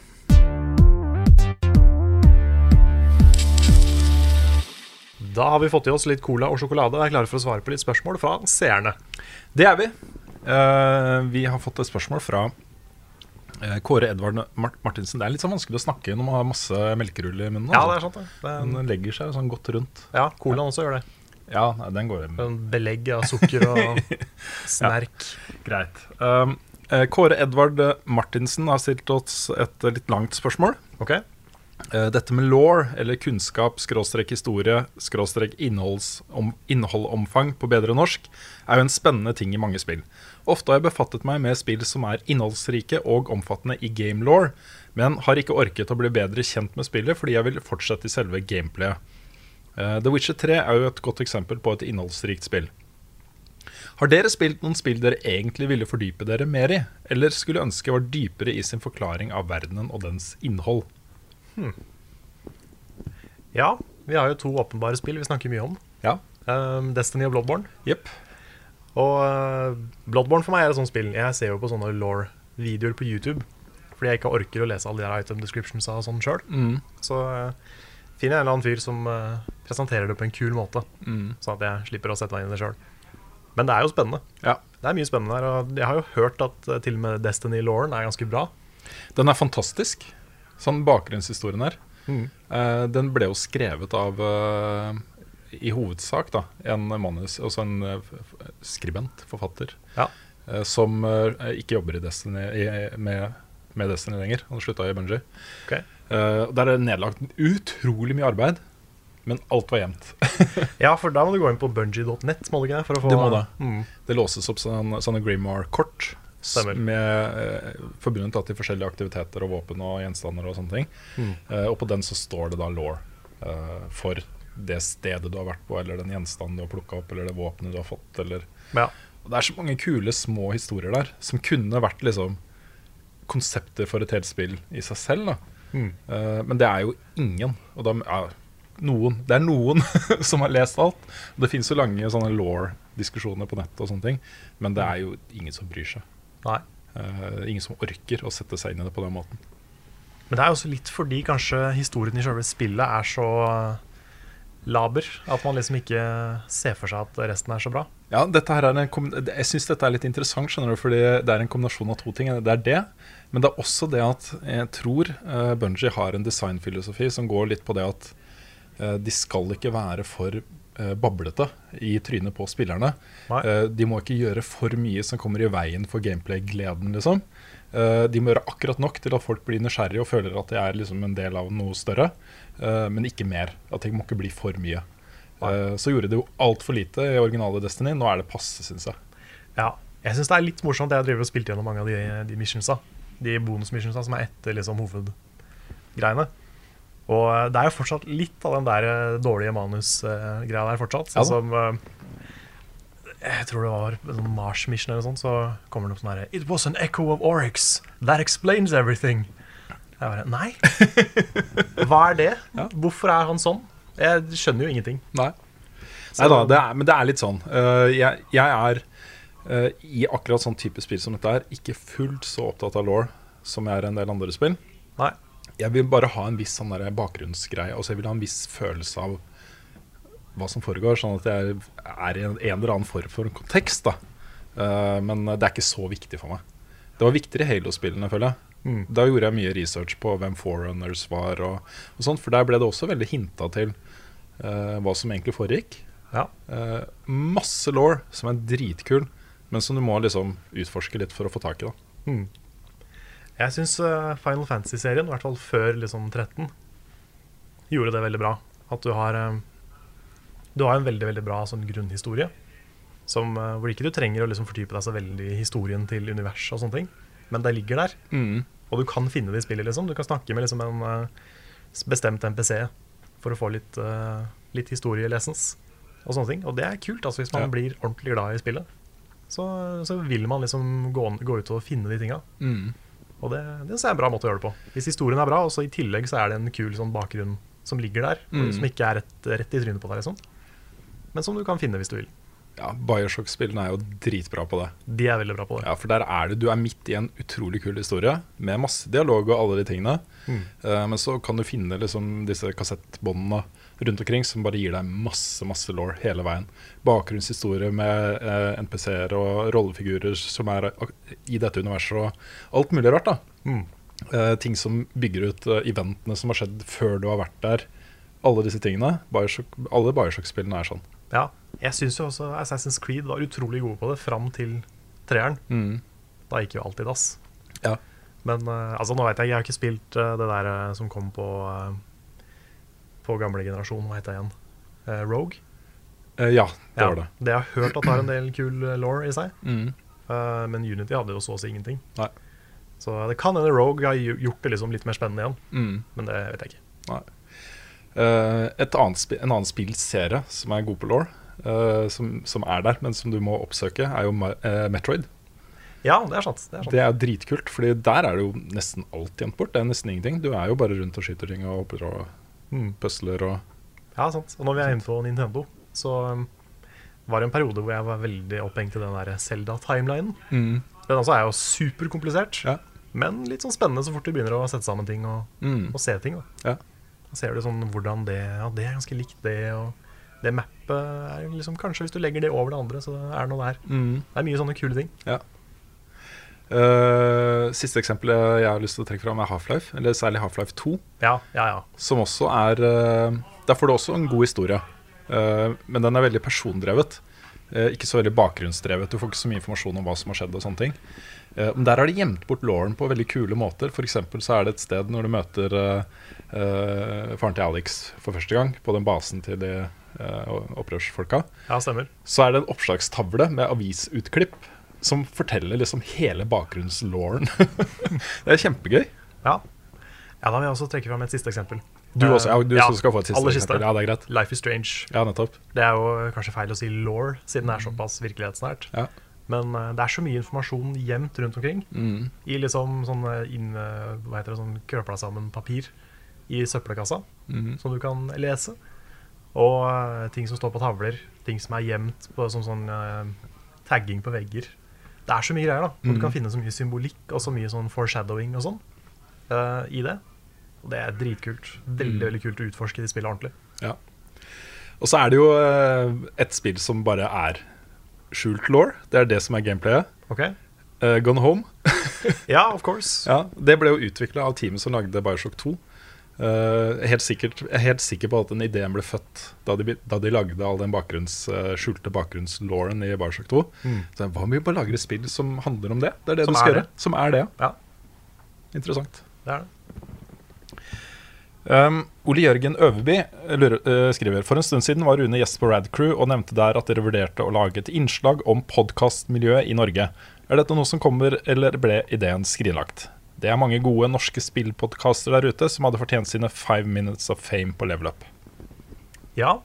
Da har vi fått i oss litt cola og sjokolade og er klare for å svare på litt spørsmål fra seerne. Det er vi. Eh, vi har fått et spørsmål fra eh, Kåre Edvard Mar- Martinsen. Det er litt sånn vanskelig å snakke når man har masse melkerull i munnen. Ja, det er altså. sant. Det. Det er, Den legger seg sånn godt rundt. ja, Colaen også gjør det. Ja, nei, den går hjem. En belegg av sukker og snerk. Greit. Um, eh, Kåre Edvard Martinsen har stilt oss et eh, litt langt spørsmål. Ok? Eh, Dette med law, eller kunnskap, skråstrek historie, skråstrek innholds- om- innholdomfang på bedre norsk, er jo en spennende ting i mange spill. Ofte har jeg befattet meg med spill som er innholdsrike og omfattende i game law, men har ikke orket å bli bedre kjent med spillet fordi jeg vil fortsette i selve gameplayet. Eh, The Witcher 3 er jo et godt eksempel på et innholdsrikt spill. Har dere spilt noen spill dere egentlig ville fordype dere mer i, eller skulle ønske var dypere i sin forklaring av verdenen og dens innhold? Ja, vi har jo to åpenbare spill vi snakker mye om. Ja. Ehm, Destiny og Bloodborne. Jepp. Og eh, Bloodborne for meg er et sånt spill. Jeg ser jo på sånne law-videoer på YouTube fordi jeg ikke orker å lese alle de her item descriptionsa og sånn sjøl. Så eh, finner jeg en eller annen fyr som eh, presenterer det på en kul måte, sånn at jeg slipper å sette meg inn i det sjøl. Men det er jo spennende. Ja. Det er mye spennende her, og jeg har jo hørt at eh, til og med Destiny-lauren er ganske bra. Den er fantastisk, sånn bakgrunnshistorien her. Eh, den ble jo skrevet av eh, i hovedsak da, en manus, altså en eh, f- f- skribent, forfatter, Ja. eh, som eh, ikke jobber i Destiny, i, med, med Destiny lenger. Han slutta i Bunji. Ok. der er det nedlagt utrolig mye arbeid, men alt var gjemt. ja, for da må du gå inn på bungee.net, må du ikke det? For å få, Det må det. Mm. Det låses opp sånne, sånne Grimoire-kort s- Stemmer. med eh, forbundet da, til forskjellige aktiviteter og våpen og gjenstander og sånne ting. Eh, og på den så står det da law eh, for det stedet du har vært på, eller den gjenstanden du har plukka opp, eller det våpenet du har fått, eller Men ja. og Det er så mange kule små historier der som kunne vært liksom konsepter for et helt spill i seg selv. Da. Eh, men det er jo ingen. Og da, ja, noen, det er noen som har lest alt. Og det fins jo lange sånne law-diskusjoner på nettet, og sånne ting men det er jo ingen som bryr seg. Nei. Eh, ingen som orker å sette seg inn i det på den måten. Men det er jo også litt fordi kanskje historien i selve spillet er så eh, laber at man liksom ikke ser for seg at resten er så bra. Ja, dette her er en, kom- Jeg syns dette er litt interessant, skjønner du, fordi det er en kombinasjon av to ting. Det er det, men det er også det at jeg tror uh, Bunji har en designfilosofi som går litt på det at eh, de skal ikke være for eh, bablete i trynet på spillerne. Nei. Eh, de må ikke gjøre for mye som kommer i veien for gameplay-gleden, liksom. Eh, de må gjøre akkurat nok til at folk blir nysgjerrige og føler at de er liksom en del av noe større, eh, men ikke mer. At det må ikke bli for mye. Eh, Så gjorde det jo altfor lite i originale Destiny. Nå er det passe, syns jeg. Ja, jeg syns det er litt morsomt. Jeg driver og spilte gjennom mange av de, de missionsa. De bonusmissionsa som er etter liksom hovedgreiene. Og eh, det er jo fortsatt litt av den der eh, dårlige manusgreia der fortsatt. Ja Sånn da. som eh, Jeg tror det var en sånn Mars Mission eller sånn, så kommer det opp sånn herre It was an echo of Oryx. That explains everything. Jeg bare Nei. Hva er det? Hvorfor er han sånn? Jeg skjønner jo ingenting. Nei. Nei da, det er, men det er litt sånn. Eh, jeg, jeg er eh, i akkurat sånn type spill som dette her ikke fullt så opptatt av law som jeg er i en del andre spill. Nei. Jeg vil bare ha en viss sånn der bakgrunnsgreie. Altså Jeg vil ha en viss følelse av hva som foregår, sånn at jeg er i en, en eller annen form for kontekst. da Eh, Men det er ikke så viktig for meg. Det var viktigere i Halo-spillene, føler jeg. Da gjorde jeg mye research på hvem Forerunners var, og, og sånt, for der ble det også veldig hinta til eh, hva som egentlig foregikk. Ja. Eh, masse law som er dritkul, men som du må liksom utforske litt for å få tak i. da Jeg syns eh, Final Fantasy-serien, i hvert fall før liksom 13, gjorde det veldig bra. At du har eh, Du har en veldig veldig bra sånn grunnhistorie. Som, eh, hvor ikke du trenger å liksom fordype deg så veldig i historien til universet, og sånne ting men det ligger der. Og du kan finne det i spillet. liksom Du kan snakke med liksom en eh, bestemt NPC for å få litt, eh, litt historielessens. Og sånne ting Og det er kult altså hvis man Ja. blir ordentlig glad i spillet. Så, så vil man liksom gå, gå ut og finne de tinga. Og det, det synes jeg er en bra måte å gjøre det på. Hvis historien er bra, og så i tillegg så er det en kul sånn bakgrunn som ligger der, Mm. som ikke er rett, rett i trynet på deg, liksom. Men som du kan finne hvis du vil. Ja, Bioshock-spillene er jo dritbra på det. De er veldig bra på det. Ja, For der er det, du er midt i en utrolig kul historie med masse dialog og alle de tingene. Eh, men så kan du finne liksom disse kassettbåndene rundt omkring som bare gir deg masse masse law hele veien. Bakgrunnshistorie med eh, NPC-er og rollefigurer som er ak- i dette universet, og alt mulig rart. da. Eh, ting som bygger ut eh, eventene som har skjedd før du har vært der. Alle disse tingene. Bioshock, alle Bioshock-spillene er sånn. Ja, jeg syns jo også Assassin's Creed var utrolig gode på det fram til treeren. Da gikk jo alt i dass. Mm. Ja. Men eh, altså, nå vet jeg, jeg har ikke spilt eh, det der eh, som kom på eh, På gamle generasjon, hva heter det igjen? Eh, Rogue. Eh, ja, det var det. det jeg har hørt at det har en del kul eh, law i seg. Eh, men Unity hadde jo så å si ingenting. Nei. Så det kan hende Rogue har gj- gjort det liksom litt mer spennende igjen, Mm. men det vet jeg ikke. Nei. Eh, et annet spi- en annen spillserie som er god på law, som, som er der, men som du må oppsøke, er jo Ma- eh, Metroid. Ja, det er sant. Det er sant. Det er jo dritkult, Fordi der er det jo nesten alt gjemt bort. Det er nesten ingenting. Du er jo bare rundt og skyter ting og hopper og mm, pusler og Ja, sant. Og når vi er inne på Nintendo, så um, var det en periode hvor jeg var veldig opphengt i den der Zelda-timelinen. Den altså er jo superkomplisert, Mm. Ja. men litt sånn spennende så fort du begynner å sette sammen ting og, og se ting. Da. Mm. Ja. da ser du sånn hvordan det Ja, det er ganske likt det, og det mappet er jo liksom Kanskje hvis du legger det over det andre, så er det noe der. Mm. Det er mye sånne kule ting. Ja. Eh, siste eksempelet jeg har lyst til å trekke fram, er Half-Life. Eller særlig Half-Life 2. Ja, ja, ja. Som også er eh, Der får du også en god historie, eh, men den er veldig persondrevet. eh, Ikke så veldig bakgrunnsdrevet. Du får ikke så mye informasjon om hva som har skjedd. og sånne ting Eh, Men der har de gjemt bort lauren på veldig kule måter. For eksempel så er det et sted når du møter eh, eh, faren til Alex for første gang, på den basen til de eh, opprørsfolka, Ja, stemmer. så er det en oppslagstavle med avisutklipp som forteller liksom hele bakgrunnslauren. det er kjempegøy. Ja. ja, da vil jeg også trekke fram et siste eksempel. Du Eh, også, ja, du ja, også skal få et siste aller siste. eksempel. Ja, det er greit. Life is Strange. Ja, nettopp. Det er jo kanskje feil å si law, siden det er såpass virkelighetsnært. Ja. Men eh, det er så mye informasjon gjemt rundt omkring. Mm. I liksom sånn eh, inn, eh, hva heter det, sånn krøpla sammen papir i søppelkassa, Mm. som du kan lese. Og eh, ting som står på tavler, ting som er gjemt på som sånn eh, tagging på vegger. Det er så mye greier, da. Og du Mm. kan finne så mye symbolikk og så mye sånn foreshadowing og sånn eh, i det. Og det er dritkult. Veldig, Mm. veldig kult å utforske de spillene ordentlig. Ja. Og så er det jo eh, et spill som bare er skjult law. Det er det som er gameplayet. Ok? Eh, Gone Home. Ja, of course. Ja, det ble jo utvikla av teamet som lagde Bioshock 2. Eh, helt, sikkert, jeg er helt sikker på at den ideen ble født da de, be- da de lagde all den bakgrunns, eh, skjulte bakgrunnslauren i Bioshock 2. Så jeg, Hva om vi bare lager et spill som handler om det? Det er det Mm. Som du skal er gjøre. det. Som er det, Ja. Interessant. Det er det. Um, Ole Jørgen Øverby lurer, eh, skriver For en stund siden var Rune gjest på Radcrew og nevnte der at dere vurderte å lage et innslag om podkastmiljøet i Norge. Er dette noe som kommer, eller ble ideen skrinlagt? Det er mange gode norske spillpodkaster der ute som hadde fortjent sine five minutes of fame på level up. Ja,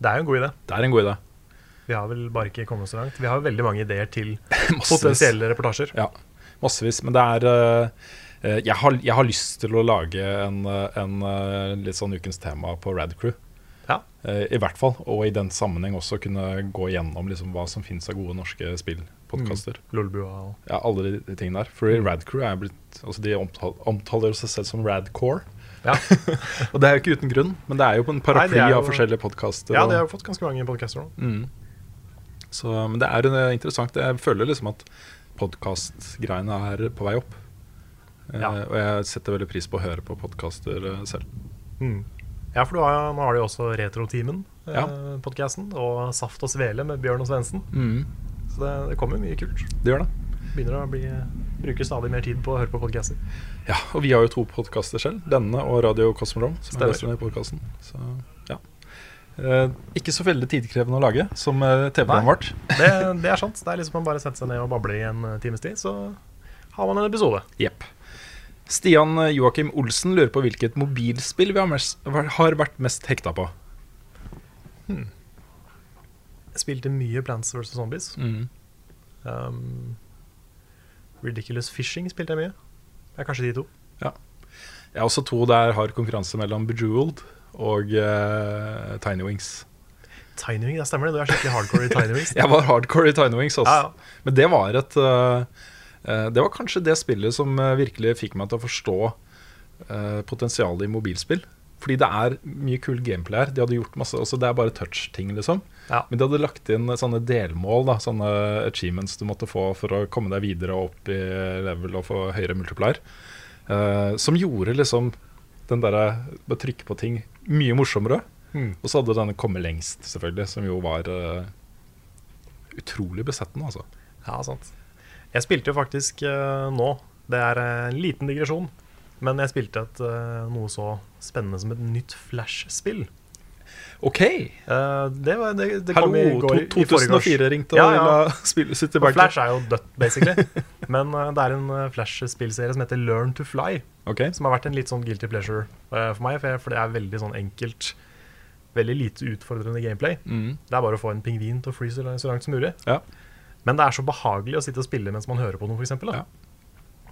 det er jo en god idé. Det er en god idé. Vi har vel bare ikke kommet så langt. Vi har jo veldig mange ideer til Massevis. potensielle reportasjer. Ja, massevis. Men det er eh, eh, jeg, har, jeg har lyst til å lage en, eh, en eh, litt sånn ukens tema på Radcrew. Ja. Eh, I hvert fall. Og i den sammenheng også kunne gå gjennom liksom, hva som fins av gode norske spillpodkaster. Lolbua og Ja, alle de, de tingene der. Mm. For Radcrew er blitt altså De omtal, omtaler jo seg selv som Radcore. Ja. og det er jo ikke uten grunn, men det er jo på en paraply Nei, det er av jo- forskjellige podkaster. Ja, det har jo fått ganske mange podcaster Mm. nå. Men det er eh, interessant. Jeg føler liksom at podkastgreiene er på vei opp. Eh, Ja. Og jeg setter veldig pris på å høre på podkaster selv. Mm. Ja, for du har, jo- nå har du jo også Retrotimen, eh, Ja. podcasten, og Saft og Svele med Bjørn og Svendsen. Mm. Så det, det kommer jo mye kult. Det gjør det. Begynner å bli, bruke stadig mer tid på å høre på podcaster. Ja, Og vi har jo to podkaster selv. Denne og Radio Cosmodrome. Som er Stemmer. resten av podcasten. Så, ja. eh, ikke så veldig tidkrevende å lage som eh, TV-programmet vårt. Det, det er sant. Det er liksom man bare setter seg ned og babler i en eh, times tid, så har man en episode. Jepp. Stian eh, Joakim Olsen lurer på hvilket mobilspill vi har, mest, har vært mest hekta på. Jeg spilte mye Plants vs. Zombies. Mm. Um, Ridiculous Fishing spilte jeg mye. Det er kanskje de to. Jeg har også to der har konkurranse mellom Bejeweled og eh, Tiny Wings. Tiny Wing, det stemmer det. Du er skikkelig hardcore i Tiny Wings. Jeg var hardcore i Tiny Wings også. Ja, ja. Men det var et eh, eh, Det var kanskje det spillet som eh, virkelig fikk meg til å forstå eh, potensialet i mobilspill. Fordi det er mye kul gameplay her. De hadde gjort masse, altså Det er bare touch-ting, liksom. Ja. Men de hadde lagt inn sånne delmål, da, sånne achievements du måtte få for å komme deg videre og opp i level og få høyere multiplier. eh, som gjorde liksom den derre å trykke på ting mye morsommere. Hmm. Og så hadde denne komme lengst, selvfølgelig, som jo var eh, utrolig besettende, altså. Ja, sant. Jeg spilte jo faktisk eh, nå Det er eh, en liten digresjon. Men jeg spilte et, eh, noe så spennende som et nytt Flash-spill. OK! Eh, det var, det, det Hallo, kom i går i- to- i forgårs. 2004 ringte og Ja, ja. ville spille sitt Og tilbake. Flash er jo dødt, basically. Men eh, det er en eh, Flash-spillserie som heter Learn to Fly. Ok. Som har vært en litt sånn guilty pleasure eh, for meg, for, jeg, for det er veldig sånn enkelt. Veldig lite utfordrende gameplay. Mm. Det er bare å få en pingvin til å fly så langt, så langt som mulig. Ja. Men det er så behagelig å sitte og spille mens man hører på noe, f.eks. Ja. Mm.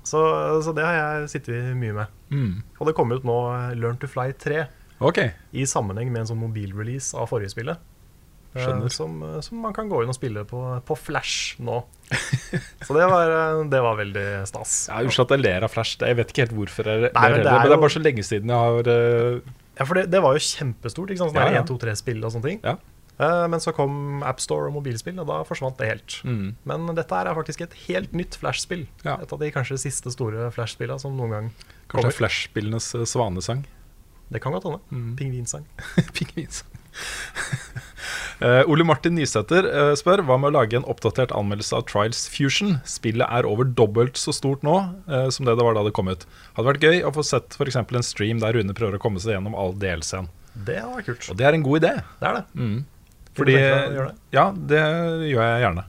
Så, så det har jeg sittet mye med. Og det kom ut nå eh, Learn to Fly 3 Ok. i sammenheng med en sånn mobilrelease av forrige spillet. eh, Skjønner. Som, eh, som man kan gå inn og spille på, på Flash nå. Så det var, eh, det var veldig stas. Ja, Unnskyld at jeg ler av Flash. Jeg vet ikke helt hvorfor jeg ler Nei, men heller, det er men det er jo- bare så lenge siden jeg har eh, Ja, for det, det var jo kjempestort. ikke sant? Sånn Ja, der ja. 1, 2, 3-spill og sånne ting. Ja. Eh, Men så kom AppStore og mobilspill, og da forsvant det helt. Men dette her er faktisk et helt nytt Flash-spill. Mm. Ja. Et av de kanskje siste store Flash-spillene som noen gang Kanskje kommer. det er Flash-spillenes eh, svanesang. Det kan godt hende. Mm. Pingvinsang. Pingvinsang. Eh, Ole Martin Nysæter eh, spør hva med å lage en oppdatert anmeldelse av Trials Fusion? Spillet er over dobbelt så stort nå eh, som det det var da det kom ut. Hadde vært gøy å få sett f.eks. en stream der Rune prøver å komme seg gjennom all DLC-en. Det var kult. Og det er en god idé. Det er det. Kunne Fordi, tenke deg å gjøre det? Ja, det gjør jeg gjerne.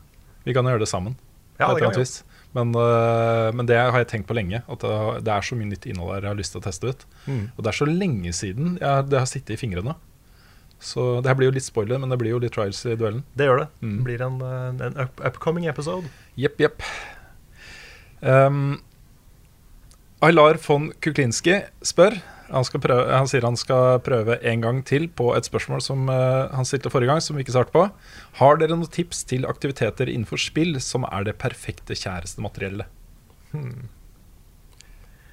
Vi kan gjøre det sammen. Ja, det på kan et eller vi annet vis. Men, øh, men det har jeg tenkt på lenge. At eh, det har- det er så mye nytt innhold her jeg har lyst til å teste ut. Mm. Og det er så lenge siden jeg, har- det har sittet i fingrene. Så det her blir jo litt spoiler, men det blir jo litt trials i duellen. Det gjør det. Mm. Det blir en, eh, en up upcoming episode. Jepp, jepp. Um, Aylar von Kuklinski spør han, skal prøve, han sier han skal prøve en gang til på et spørsmål som eh, han stilte forrige gang, som vi ikke svarte på. Har dere noen tips til aktiviteter innenfor spill som er det perfekte kjærestemateriellet?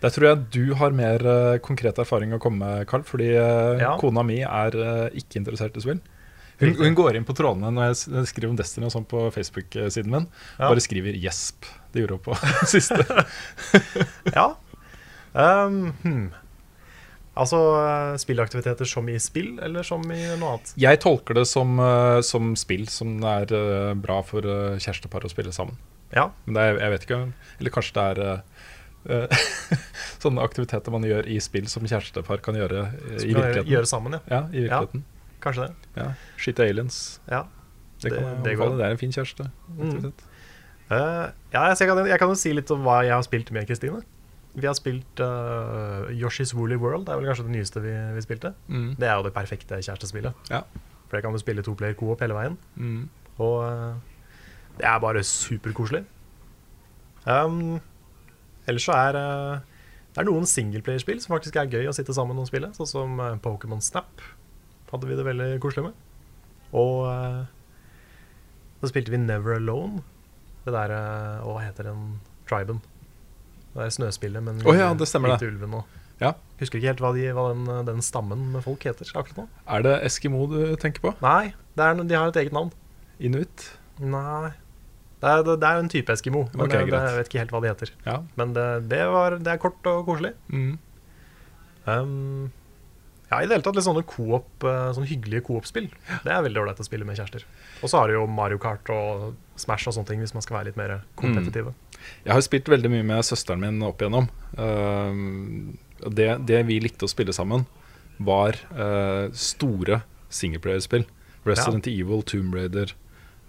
Der tror jeg du har mer eh, konkret erfaring å komme med, Carl. Fordi eh, Ja. kona mi er eh, ikke interessert i spill. Hun, hun går inn på trådene når jeg s- skriver om Destiny og sånn på Facebook-siden min. Ja. Bare skriver 'gjesp'. Det gjorde hun på siste. Ja. Um, hmm. Altså eh, spillaktiviteter som i spill, eller som i noe annet? Jeg tolker det som, eh, som spill som er eh, bra for eh, kjærestepar å spille sammen. Ja. Men det er, jeg vet ikke Eller kanskje det er eh, eh, sånne aktiviteter man gjør i spill som kjærestepar kan gjøre eh, i Som kan virkeligheten. gjøre sammen, ja. Ja, i virkeligheten. Kanskje det. Ja. Skyte aliens. Ja. Det, Det- kan jeg det går. Mm. anbefale. Det er en fin kjæreste. aktivitet. Eh, ja, så jeg, kan, jeg kan jo si litt om hva jeg har spilt med Kristine. Vi har spilt eh, Yoshi's Woolly World. Det er vel kanskje det nyeste vi, vi spilte. Det er jo det perfekte kjærestespillet. Ja. For det kan du spille toplayer co-op hele veien. Mm. Og eh, det er bare superkoselig. Um, ellers så er eh, det er noen singleplayerspill som faktisk er gøy å sitte sammen og spille, sånn som eh, Pokémon Snap. hadde vi det veldig koselig med. Og eh, så spilte vi Never Alone. Det der eh, Hva heter den triben? Det er snøspillet, men Å ja, det stemmer det. hvite ulven og Ja. Husker ikke helt hva, de, hva den, den stammen med folk heter akkurat nå. Er det Eskimo du tenker på? Nei, det er, no- de har et eget navn. Inuitt? Nei Det er, det er en type eskimo, men Ok, det- det, greit. jeg vet ikke helt hva de heter. Ja. Men det, det, var, det er kort og koselig. Mm. Um, ja, i det hele tatt litt sånne co-op, eh, sånne hyggelige co-op-spill. Det er veldig ålreit å spille med kjærester. Og så har du jo Mario Kart og Smash og sånne ting, hvis man skal være litt mer Mm. kompetitive. Jeg har spilt veldig mye med søsteren min opp igjennom. Ehm, og det, det vi likte å spille sammen, var eh, store singleplayerspill. Resident Evil, Tomb Raider,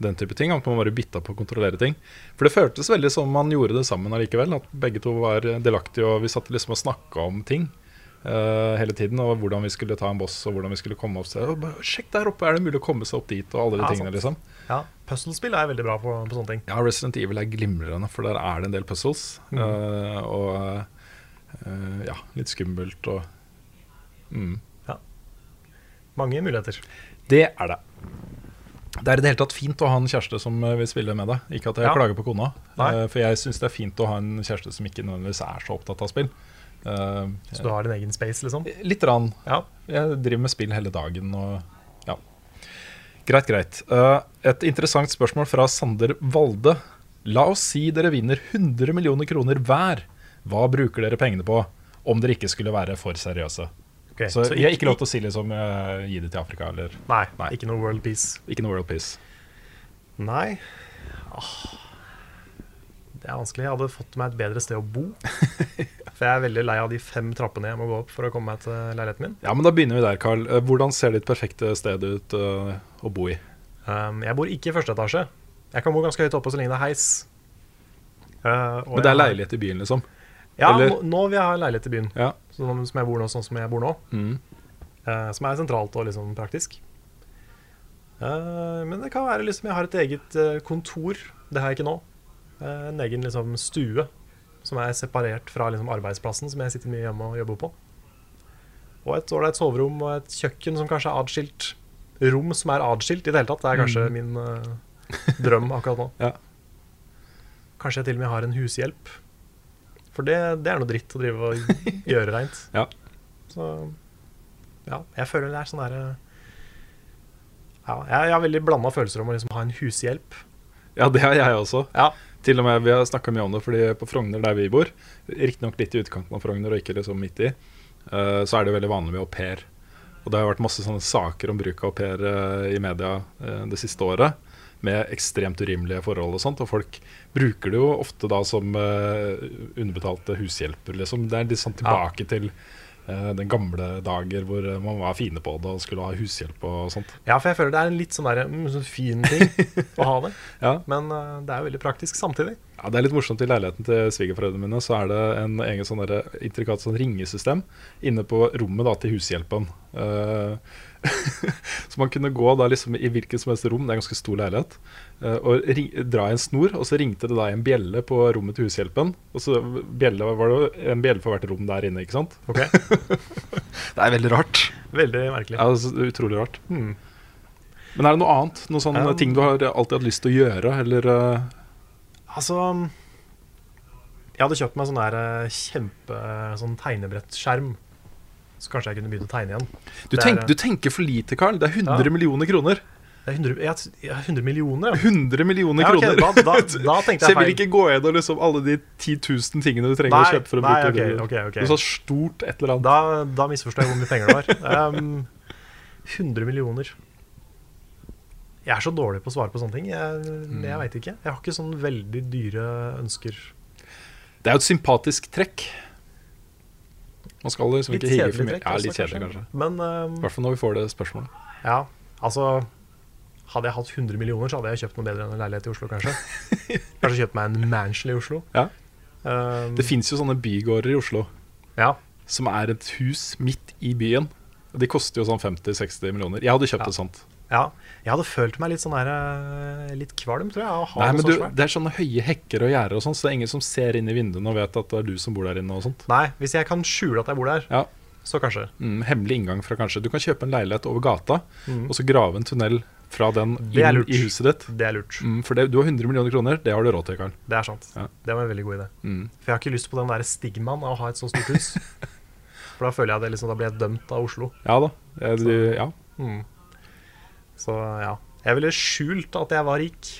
den type ting. At man bare bytta på å kontrollere ting. For det føltes veldig som man gjorde det sammen allikevel. At begge to var delaktige, og vi satt liksom og snakka om ting. eh, hele tiden, og hvordan vi skulle ta en boss og hvordan vi skulle komme opp stedet. Og bare, Sjekk der oppe, er det mulig å komme seg opp dit? Og alle de Ja, tingene sant. liksom Ja, Puzzlespill er veldig bra på, på sånne ting. ja, Resident Evil er glimrende, for der er det en del puzzles. Mm. eh, og eh, ja, litt skummelt og mm. Mange muligheter. Det er det. Det er i det hele tatt fint å ha en kjæreste som eh, vil spille med deg. Ikke at jeg Ja. klager på kona, Nei. eh, for jeg syns det er fint å ha en kjæreste som ikke nødvendigvis er så opptatt av spill. Eh, Så du har din egen space, liksom. litt rann. Ja. Jeg driver med spill hele dagen og ja. Greit, greit. Eh, et interessant spørsmål fra Sander Valde. La oss si dere vinner 100 millioner kroner hver. Hva bruker dere pengene på? Om dere ikke skulle være for seriøse. Ok, Så jeg har ikke lov til å si liksom eh, gi det til Afrika eller Nei, Nei. ikke noe World Peace. Ikke noe World Peace. Nei. Åh. Det er vanskelig. Jeg hadde fått meg et bedre sted å bo. For jeg er veldig lei av de fem trappene jeg må gå opp for å komme meg til leiligheten min. Ja, men Da begynner vi der, Carl. Eh, Hvordan ser ditt perfekte sted ut eh, å bo i? Um, jeg bor ikke i første etasje. Jeg kan bo ganske høyt oppe så lenge det er heis. Uh, og Men det er jeg- leilighet i byen, liksom? Ja, eller- nå, nå vil jeg ha en leilighet i byen. Ja. Sånn som jeg bor nå, sånn som jeg bor nå. Mm. Eh, som er sentralt og liksom praktisk. Eh, men det kan være liksom Jeg har et eget eh, kontor. Det har jeg ikke nå. Eh, en egen liksom stue som er separert fra liksom arbeidsplassen, som jeg sitter mye hjemme og jobber på. Og et ålreit soverom og et kjøkken som kanskje er atskilt. Rom som er atskilt i det hele tatt. Det er kanskje min eh, drøm akkurat nå. Mm. Ja. Kanskje jeg til og med har en hushjelp. For det, det er noe dritt å drive og gjøre reint. Ja. Så ja, jeg føler det er sånn derre ja, jeg, jeg har veldig blanda følelser om å liksom ha en hushjelp. ja, det har jeg også. Ja. Til og med, Vi har snakka mye om det, fordi på Frogner, der vi bor, riktignok litt i utkanten av Frogner og ikke liksom midt i, eh, så er det veldig vanlig med au pair. Og det har vært masse sånne saker om bruk av au pair eh, i media eh, det siste året, med ekstremt urimelige forhold og sånt. Og folk bruker det jo ofte da som eh, underbetalte hushjelper, liksom. Det er litt sånn tilbake til eh, den gamle dager hvor eh, man var fine på det og skulle ha hushjelp og sånt. ja, for jeg føler det er en litt sånn, der, mm, sånn fin ting å ha det. Ja. Men eh, det er jo veldig praktisk samtidig. Ja, Det er litt morsomt. I leiligheten til svigerforeldrene mine så er det en egen sånn der, intrikat sånn ringesystem inne på rommet da, til hushjelpen. Eh, så man kunne gå da liksom i hvilket som helst rom, det er en ganske stor leilighet, eh, og ring, dra i en snor, og så ringte det da i en bjelle på rommet til hushjelpen. Og så bjelle, var det jo en bjelle for hvert rom der inne, ikke sant? Ok, Det er veldig rart. Veldig merkelig. Ja, det er så utrolig rart. Hmm. Men er det noe annet? Noen sånne Um, ting du har alltid hatt lyst til å gjøre, eller eh, Altså Jeg hadde kjøpt meg sånn der eh, kjempe sånn tegnebrettskjerm. Så kanskje jeg kunne begynne å tegne igjen. du, Det er- tenk, du tenker for lite, Carl. Det er 100 Ja. millioner kroner. Det er 100, jeg, jeg har 100 millioner, ja. 100 millioner Ja, ok, kroner. da- da- da tenkte jeg så jeg vil feil. ikke gå gjennom liksom alle de 10 000 tingene du trenger å Nei, kjøpe for å nei, bruke ok, det. ok, ok. Noe sånt stort et eller annet. Da, da misforstår jeg hvor mye penger det var. Um, 100 millioner. Jeg er så dårlig på å svare på sånne ting. Jeg, Mm. jeg veit ikke. Jeg har ikke sånn veldig dyre ønsker. Det er jo et sympatisk trekk. Man skal liksom Litt ikke hige for kjedelig mye. trekk. altså, Ja, også, litt kjedelig, kanskje. Men um, I hvert fall når vi får det spørsmålet. ja, altså Hadde jeg hatt 100 millioner, så hadde jeg kjøpt noe bedre enn en leilighet i Oslo, kanskje. Kanskje kjøpt meg en mansion i Oslo. Ja. Um, Det fins jo sånne bygårder i Oslo ja. som er et hus midt i byen. Og De koster jo sånn 50-60 millioner. Jeg hadde kjøpt et sånt. ja. Jeg hadde følt meg litt sånn her eh, Litt kvalm, tror jeg. av å ha Nei, noe men så du, svært. Det er sånne høye hekker og gjerder, og sånn, så det er ingen som ser inn i vinduene og vet at det er du som bor der inne. og sånt Nei, hvis jeg kan skjule at jeg bor der, Ja, Så kanskje. Mm, hemmelig inngang fra kanskje Du kan kjøpe en leilighet over gata og så grave en tunnel fra den Mm. Det er inn lurt. i huset ditt. Det er lurt. Mm, for det, du har 100 millioner kroner, det har du råd til, Karl. Det er sant. Ja. Mm. Det var en veldig god idé. For jeg har ikke lyst på den der stigmaen av å ha et så stort hus. For da føler jeg det liksom, da blir jeg dømt av Oslo. Ja da. eh, Du, ja. Så ja. Jeg ville skjult at jeg var rik,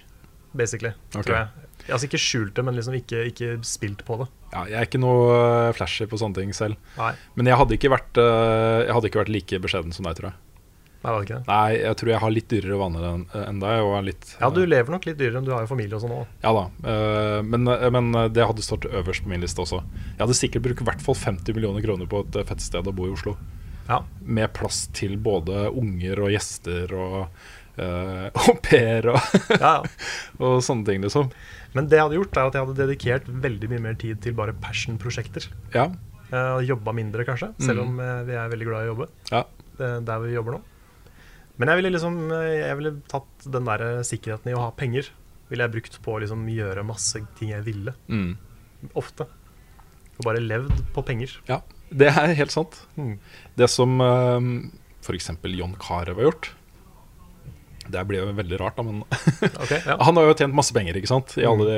basically. Ok. Tror jeg. Altså ikke skjult det, men liksom ikke, ikke spilt på det. ja. Jeg er ikke noe eh, flashy på sånne ting selv. Nei, Men jeg hadde ikke vært, eh, jeg hadde ikke vært like beskjeden som deg, tror jeg. Nei det var ikke det. Nei, jeg tror jeg har litt dyrere vaner enn eh, enn deg. Og er litt, Ja, du lever nok litt dyrere, du har jo familie og sånn òg. Ja da, eh, men, eh, men det hadde stått øverst på min liste også. Jeg hadde sikkert brukt i hvert fall 50 millioner kroner på et eh, fett sted å bo i Oslo. Ja. Med plass til både unger og gjester og eh, au pair og, Ja, ja. og sånne ting, liksom. Men det jeg hadde gjort, er at jeg hadde dedikert veldig mye mer tid til bare passion-prosjekter. Ja, Eh, Jobba mindre, kanskje, selv om eh, vi er veldig glad i å jobbe. Mm. ja. det- der vi jobber nå. Men jeg ville liksom eh, Jeg ville tatt den der eh, sikkerheten i å ha penger. Ville jeg brukt på å liksom gjøre masse ting jeg ville. Mm. Ofte. Og bare levd på penger. Ja, det er helt sant. Mm. Det som eh, for f.eks. John Carew har gjort Det blir jo veldig rart, da, men Ok, ja. Han har jo tjent masse penger ikke sant? i alle de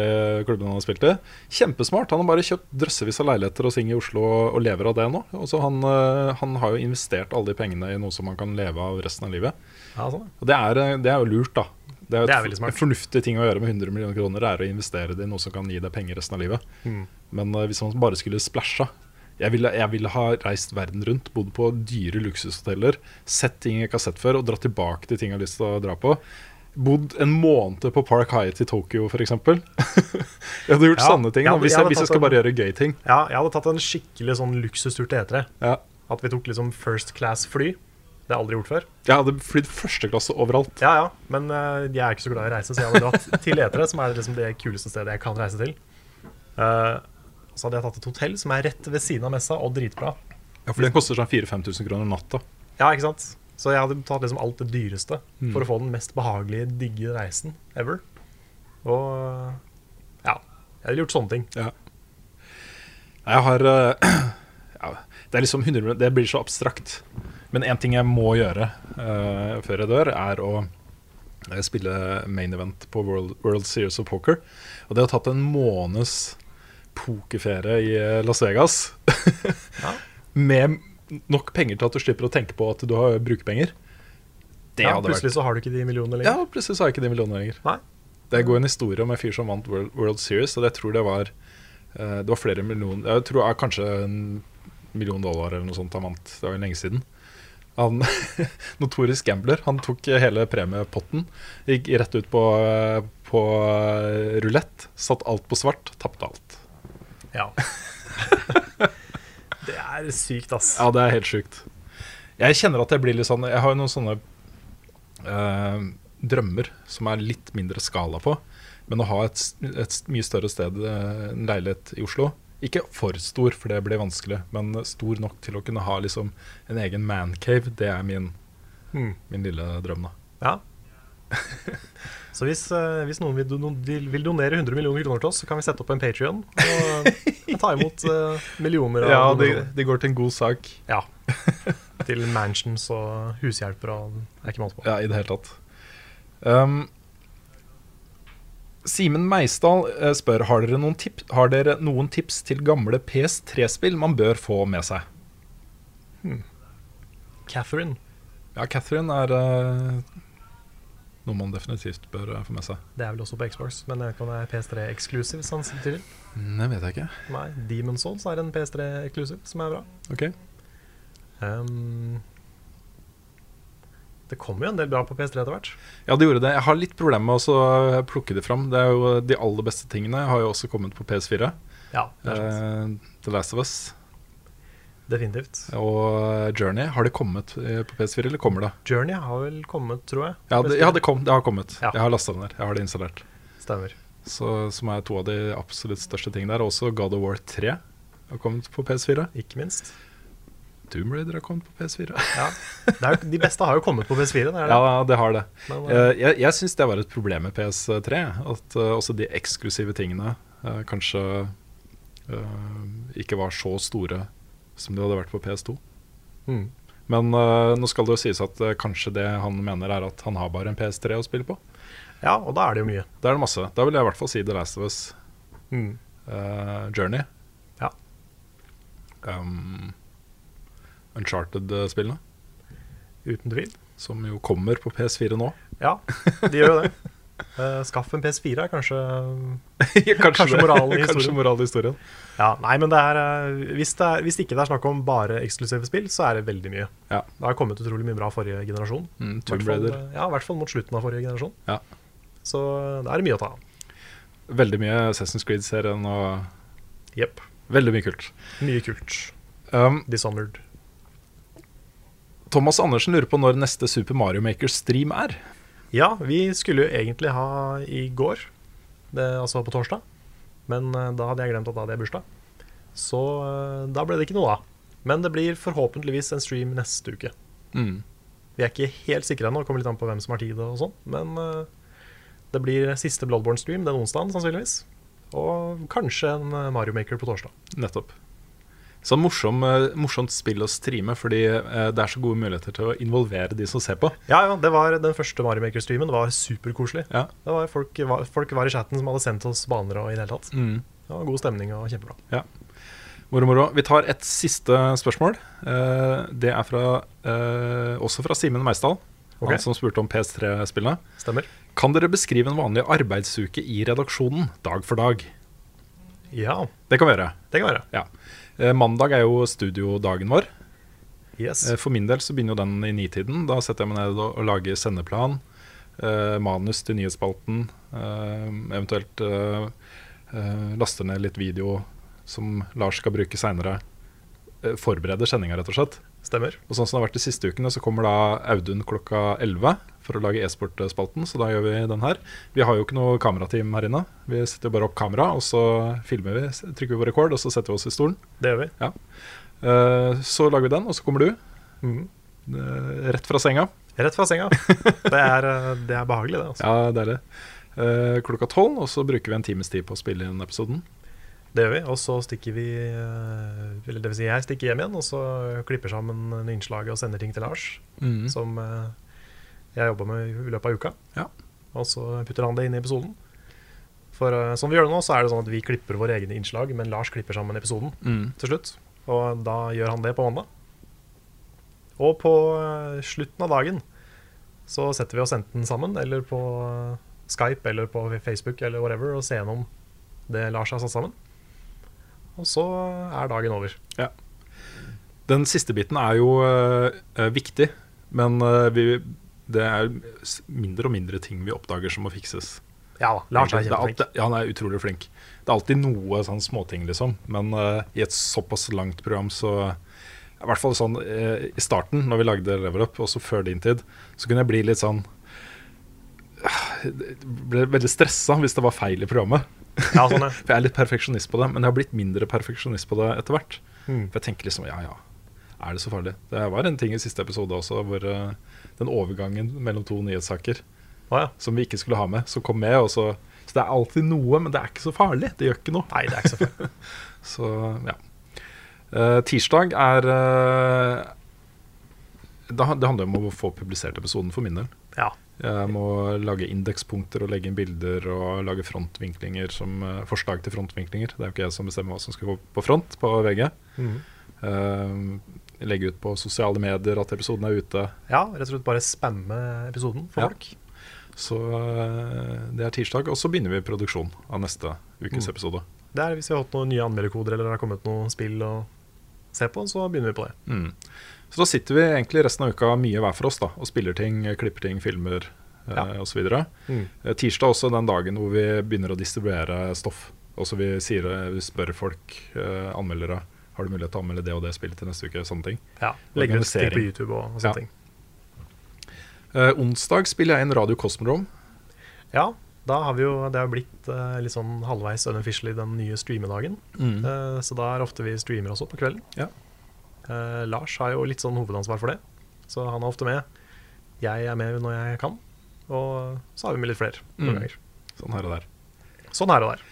klubbene han har spilt i. Kjempesmart. Han har bare kjøpt drøssevis av leiligheter og ting i Oslo og og lever av det nå. Og så han, eh, han har jo investert alle de pengene i noe som han kan leve av resten av livet. ja sånn. Og det er, eh, det er jo lurt, da. Det er, jo Det er et veldig smart. En fornuftig ting å gjøre med 100 millioner kroner er å investere det i noe som kan gi deg penger resten av livet. Mm. Men eh, hvis man bare skulle splæsja jeg ville, jeg ville ha reist verden rundt, bodd på dyre luksushoteller, sett ting jeg ikke har sett før, og dratt tilbake til ting jeg har lyst til å dra på. Bodd en måned på Park Hyatt i Tokyo, f.eks. jeg hadde gjort Ja, sånne ting. jeg Da, hadde- hvis, jeg jeg, hadde hvis tatt jeg skal en- bare gjøre gøy ting. ja, jeg hadde tatt en skikkelig sånn luksustur til Etere. Ja. At vi tok liksom first class-fly. Det har jeg aldri gjort før. Jeg hadde flydd første klasse overalt. Ja, ja, Men eh, jeg er ikke så glad i å reise, så jeg hadde dratt til Etere, som er liksom det kuleste stedet jeg kan reise til. Eh, så hadde jeg tatt et hotell som er rett ved siden av messa, og dritbra. Ja, For den koster sånn 4000-5000 kroner natta. Ja, ikke sant? Så jeg hadde tatt liksom alt det dyreste Mm. for å få den mest behagelige, digge reisen ever. Og ja, jeg hadde gjort sånne ting. Ja. Nei, Jeg har eh, ja, Det er liksom 100 minutter, Det blir så abstrakt. Men én ting jeg må gjøre eh, før jeg dør, er å eh, spille main event på World, World Series of Poker. Og det har tatt en måneds pokerferie i eh, Las Vegas. Med nok penger til at du slipper å tenke på at du har brukepenger. Det Ja, hadde plutselig vært så har du ikke de millionene Ja, lenger. plutselig så har jeg ikke de millionene lenger. Nei. Det går en historie om en fyr som vant World, World Series, og jeg tror det var eh, Det var flere million Jeg tror eh, kanskje en million dollar eller noe sånt han vant. Det var jo lenge siden. Han, Notorisk gambler. Han tok hele premiepotten, gikk rett ut på, eh, på eh, rulett, satt alt på svart, tapte alt. Ja. det er sykt, ass. Ja, det er helt sjukt. Jeg kjenner at jeg blir litt sånn Jeg har jo noen sånne eh, drømmer som er litt mindre skala på. Men å ha et, s- et s- mye større sted, eh, en leilighet i Oslo Ikke for stor, for det blir vanskelig, men stor nok til å kunne ha liksom en egen mancave, det er min, Mm. min lille drøm, da. Ja. Så hvis, eh, hvis noen vil, don vil vil donere 100 millioner kroner til oss, så kan vi sette opp en Patrion og ta imot eh, millioner av Ja, det, kroner. det går til en god sak. Ja. Til mansions og hushjelper og det er ikke måte på. Ja, i det hele tatt. Um, Simen Meisdal eh, spør har dere, noen tip har dere noen tips til gamle PS3-spill man bør få med seg. Catherine. Ja, Catherine er eh, noe man definitivt bør eh, få med seg. Det er vel også på Xbox, men jeg vet ikke om det er PS3 eksklusiv samtidig. Det vet jeg ikke. Nei, Demon Souls er en PS3 eksklusiv som er bra. Ok, Ehm, det kommer jo en del bra på PS3 etter hvert. Ja, det gjorde det. Jeg har litt problemer med å så plukke det fram. Det er jo eh, De aller beste tingene har jo også kommet på PS4. Ja, det er sant. Eh, The Last of Us Definitivt. og Journey. Har det kommet eh, på PS4, eller kommer det? Journey har vel kommet, tror jeg. Ja, det, ja, det, kom, det har kommet. Ja. Jeg har lasta den der. Jeg har det installert. Stemmer. Så, som er to av de absolutt største tingene der. Også God of War 3 har kommet på PS4. Ikke minst. Doom Raider har kommet på PS4. Ja. Det er jo, de beste har jo kommet på PS4. Det er det. ja, det har det. Men, Eh, Jeg, jeg syns det var et problem med PS3. At eh, også de eksklusive tingene eh, kanskje eh, ikke var så store som de hadde vært på PS2. Mm. Men eh, nå skal det jo sies at eh, kanskje det han mener er at han har bare en PS3 å spille på. Ja, og da er det jo mye. Da er det masse. Da vil jeg i hvert fall si The Last of Us Mm. eh, Journey. Ja. Um, Uncharted-spillene, Uten tvil. som jo kommer på PS4 nå. Ja, de gjør jo det. Eh, skaff en PS4 er kanskje kanskje Kanskje det. moralen i historien. Kanskje moralen i historien. Ja, nei, men det er, eh, hvis, det er, hvis ikke det er snakk om bare eksklusive spill, så er det veldig mye. Ja. Det har kommet utrolig mye bra forrige generasjon. Mm, I hvert Tomb fall, Raider. eh, Ja, i hvert fall mot slutten av forrige generasjon. Ja. Så eh, det er mye å ta av. Veldig mye Assassin's Creed-serien og Jepp. veldig mye kult. Mye kult. Um, Dishonored. Thomas Andersen lurer på når neste Super Mario Maker-stream er. Ja, vi skulle jo egentlig ha i går, det, altså på torsdag. Men eh, da hadde jeg glemt at da hadde jeg bursdag. Så eh, da ble det ikke noe av. Men det blir forhåpentligvis en stream neste uke. Mm. Vi er ikke helt sikre ennå, det kommer litt an på hvem som har tid og sånn. Men eh, det blir siste Bloodborne-stream den onsdagen, sannsynligvis. Og kanskje en eh, Mario Maker på torsdag. Nettopp. Sånn morsom, eh, morsomt spill å streame, fordi eh, det er så gode muligheter til å involvere de som ser på. Ja, ja, det var Den første Mario Maker-streamen var superkoselig. Ja. Det var folk, var, folk var i chatten som hadde sendt oss baner og i det hele tatt. Mm. Det var god stemning og kjempebra. Moro, moro. Vi tar et siste spørsmål. Eh, det er fra, eh, også fra Simen Meisdal, Ok. han som spurte om PS3-spillene. Stemmer. Kan dere beskrive en vanlig arbeidsuke i redaksjonen, dag for dag? Ja, Det kan vi gjøre. det kan være. Ja. Eh, mandag er jo studiodagen vår. Yes. Eh, For min del så begynner jo den i nitiden. Da setter jeg meg ned og og lager sendeplan, eh, manus til nyhetsspalten, eh, eventuelt eh, eh, laster ned litt video som Lars skal bruke seinere. Eh, forbereder sendinga, rett og slett. Stemmer. Og sånn som det har vært de siste ukene, så kommer da Audun klokka 11 for å lage e-sportspalten, så da gjør vi den her. Vi har jo ikke noe kamerateam her inne. Vi setter jo bare opp kamera, og så filmer vi, s- trykker vi på rekord, og så setter vi oss i stolen. Det gjør vi. Eh, så lager vi den, og så kommer du. mm, Mhm. eh, rett fra senga. Rett fra senga. Det er, eh, det er behagelig, det. altså. Ja, det er det. Eh, klokka tolv, og så bruker vi en times tid på å spille inn episoden. Det gjør vi. Og så stikker vi eh, Eller det vil si, jeg stikker hjem igjen, og så klipper sammen en innslaget og sender ting til Lars, Så- som eh, jeg jobber med i løpet av uka. Ja. Og så putter han det inn i episoden. For eh, som vi gjør det nå, så er det sånn at vi klipper våre egne innslag, men Lars klipper sammen episoden Mm. til slutt. Og da gjør han det på mandag. Og på eh, slutten av dagen så setter vi oss enten sammen, eller på eh, Skype, eller på Facebook, eller whatever, og ser gjennom det Lars har satt sammen. Og så er dagen over. Den siste biten er jo eh, eh, viktig, men eh, vi, det er s- mindre og mindre ting vi oppdager som må fikses. Ja da, Lars er Det alt- kjempeflink. ja, han er utrolig flink. Det er alltid noe sånn småting, liksom, men eh, i et såpass langt program så I hvert fall sånn eh, i starten, når vi lagde Level Up, også før din tid, så kunne jeg bli litt sånn Ble veldig stressa hvis det var feil i programmet. Ja, sånn er. For jeg er litt perfeksjonist på det, men jeg har blitt mindre perfeksjonist på det etter hvert. Mm. For jeg tenker liksom, ja ja, er det så farlig? Det var en ting i siste episode også, hvor eh, den overgangen mellom to nyhetssaker Å, ja. som vi ikke skulle ha med, som kom med. Og så, så det er alltid noe, men det er ikke så farlig. Det gjør ikke noe. Nei, det er ikke så farlig. Så ja. Eh, tirsdag er eh, det, han- det handler om å få publisert episoden for min del. Ja. Jeg må lage indekspunkter og legge inn bilder og lage frontvinklinger som eh, forslag til frontvinklinger. Det er jo ikke jeg som bestemmer hva som skal gå på front på VG. Mhm. Eh, legge ut på sosiale medier at episoden er ute. ja, rett og slett bare spamme episoden for Ja. folk. Så eh, det er tirsdag, og så begynner vi produksjon av neste ukes Mm. episode. Det er Hvis vi har hatt noen nye anmelderkoder eller det har kommet noen spill å se på, så begynner vi på det. Mm. Så da sitter vi egentlig resten av uka mye hver for oss da, og spiller ting, klipper ting, filmer eh, Ja. osv. Eh, Tirsdag også den dagen hvor vi begynner å distribuere stoff. Også vi, sier, vi spør folk, eh, anmeldere, har du mulighet til å anmelde det og det spillet til neste uke. sånne ting. Ja, Legger ut ting på Organisering. YouTube og, og Ja. sånne ting. Eh, onsdag spiller jeg inn Radio Cosmodrome. Ja, da har vi jo, det har jo blitt eh, litt sånn halvveis unofficially den nye streamedagen. Eh, så da er ofte vi streamer også på kvelden. Mm. Ja. Eh, Lars har jo litt sånn hovedansvar for det, så han er ofte med. Jeg er med når jeg kan, og så har vi med litt flere noen Mm. ganger. Sånn her og der. Sånn her og der.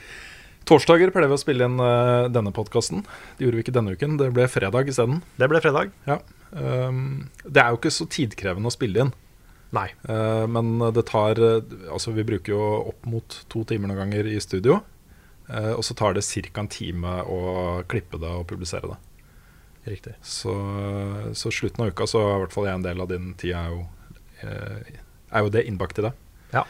Torsdager pleier vi å spille inn eh, denne podkasten. Det gjorde vi ikke denne uken. Det ble fredag isteden. Det ble fredag. Ja. Ehm, det er jo ikke så tidkrevende å spille inn, Nei. eh, men det tar eh, Altså, vi bruker jo opp mot to timer noen ganger i studio. eh, og så tar det ca. en time å klippe det og publisere det. Riktig. Så, så slutten av uka så er i hvert fall jeg en del av din tid er jo, eh, er jo det innbakt i det. Ja.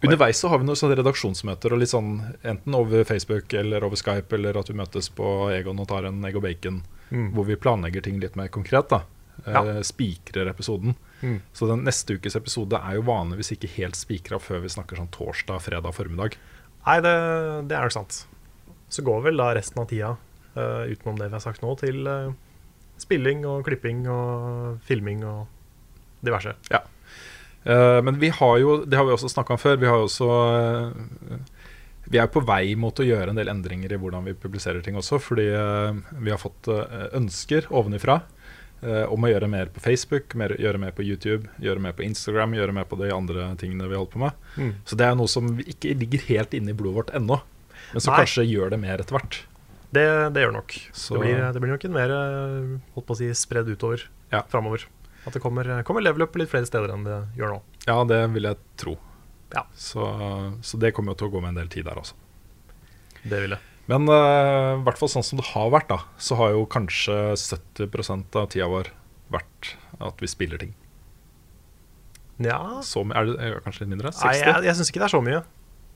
Underveis så har vi noen sånne redaksjonsmøter, og litt sånn, enten over Facebook eller over Skype, eller at vi møtes på Egon og tar en egg og bacon, hvor vi planlegger ting litt mer konkret. da. Eh, Mm. Ja. Spikrer episoden. Mm. Så den neste ukes episode er jo vanligvis ikke helt spikra før vi snakker sånn torsdag-fredag formiddag. Nei, det, det er nok sant. Så går vel da resten av tida, eh, utenom det vi har sagt nå, til eh, spilling og klipping og filming og diverse. Eh, men vi har jo, det har vi også snakka om før, vi har jo også eh, Vi er på vei mot å gjøre en del endringer i hvordan vi publiserer ting også, fordi eh, vi har fått eh, ønsker ovenifra eh, om å gjøre mer på Facebook, mer, gjøre mer på YouTube, gjøre mer på Instagram, gjøre mer på de andre tingene vi holder på med. Mm. Så det er noe som ikke ligger helt inne i blodet vårt ennå, men som Nei. kanskje gjør det mer etter hvert. Det, det gjør nok. Så- Det, blir, det blir nok en mer eh, holdt på å si, spredd utover Ja. framover. At det kommer, kommer level up litt flere steder enn det gjør nå. Ja, det vil jeg tro. Ja. Så, så det kommer jo til å gå med en del tid der også. Det vil jeg. Men eh, i hvert fall sånn som det har vært, da, så har jo kanskje 70 av tida vår vært at vi spiller ting. Nja Så, my- er det er det kanskje litt mindre? Nei, 60? jeg, jeg syns ikke det er så mye.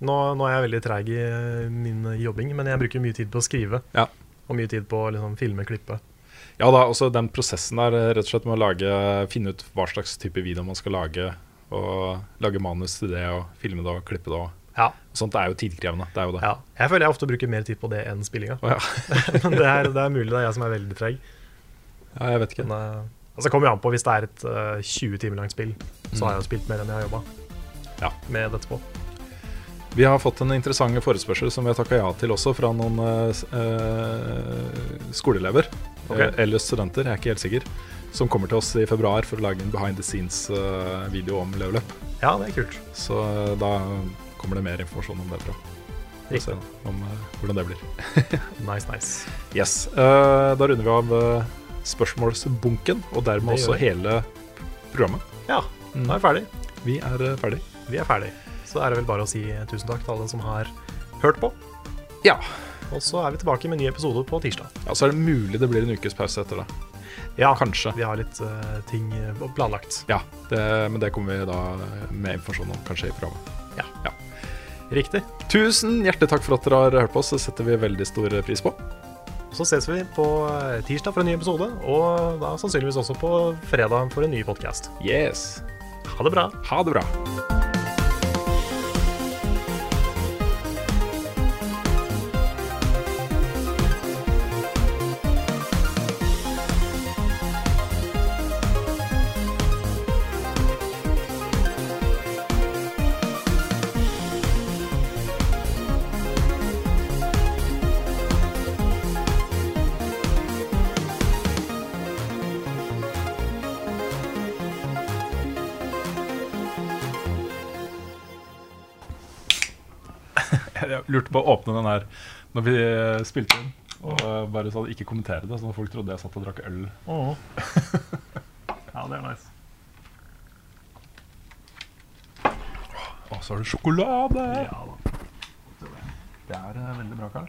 Nå, nå er jeg veldig treig i eh, min jobbing, men jeg bruker mye tid på å skrive. Ja. Og mye tid på å liksom, filme, klippe. Ja da, også den prosessen der, eh, rett og slett med å lage, finne ut hva slags type video man skal lage, og lage manus til det, og filme det og klippe det og Ja. Sånt er jo tidkrevende. Det er jo det. ja. Jeg føler jeg ofte bruker mer tid på det enn spillinga. Å, ja. Men det er, det er mulig det er jeg som er veldig treig. ja, jeg vet ikke. Men, eh, Altså kommer jo an på hvis det er et eh, 20 timer langt spill, så har jeg jo spilt mer enn jeg har jobba Ja. med dette på. Vi har fått en interessant forespørsel som vi har takka ja til også, fra noen eh, s- eh, skoleelever. Ok. eh, Eller studenter, jeg er ikke helt sikker. Som kommer til oss i februar for å lage en behind the scenes-video om level up. Ja, det er kult. Så eh, da kommer det mer informasjon om det, tror jeg. Vi får Riktig. se om eh, hvordan det blir. Nice, nice. Yes, eh, Da runder vi av eh, spørsmålsbunken, og dermed Det også gjør vi. hele programmet. Ja, da er vi ferdig. Vi er eh, ferdig. Vi er ferdig. Så er det vel bare å si eh, tusen takk til alle som har hørt på. Ja. Og så er vi tilbake med en ny episode på tirsdag. ja, Så er det mulig det blir en ukes pause etter det. Ja, Kanskje. Vi har litt eh, ting eh, planlagt. Ja, det, men det kommer vi da med informasjon om kanskje i programmet. Ja. Ja. Riktig. Tusen hjertelig takk for at dere har hørt på oss, det setter vi veldig stor pris på. Så ses vi på eh, tirsdag for en ny episode, og da sannsynligvis også på fredag for en ny podkast. Yes. Ha det bra. Ha det bra. Jeg lurte på å åpne den her når vi eh, spilte inn, og bare sånn ikke kommentere det, sånn at folk trodde jeg satt og drakk øl. Ja, det er nice. Å, så har du sjokolade! Ja da. Det er eh, veldig bra, Karl.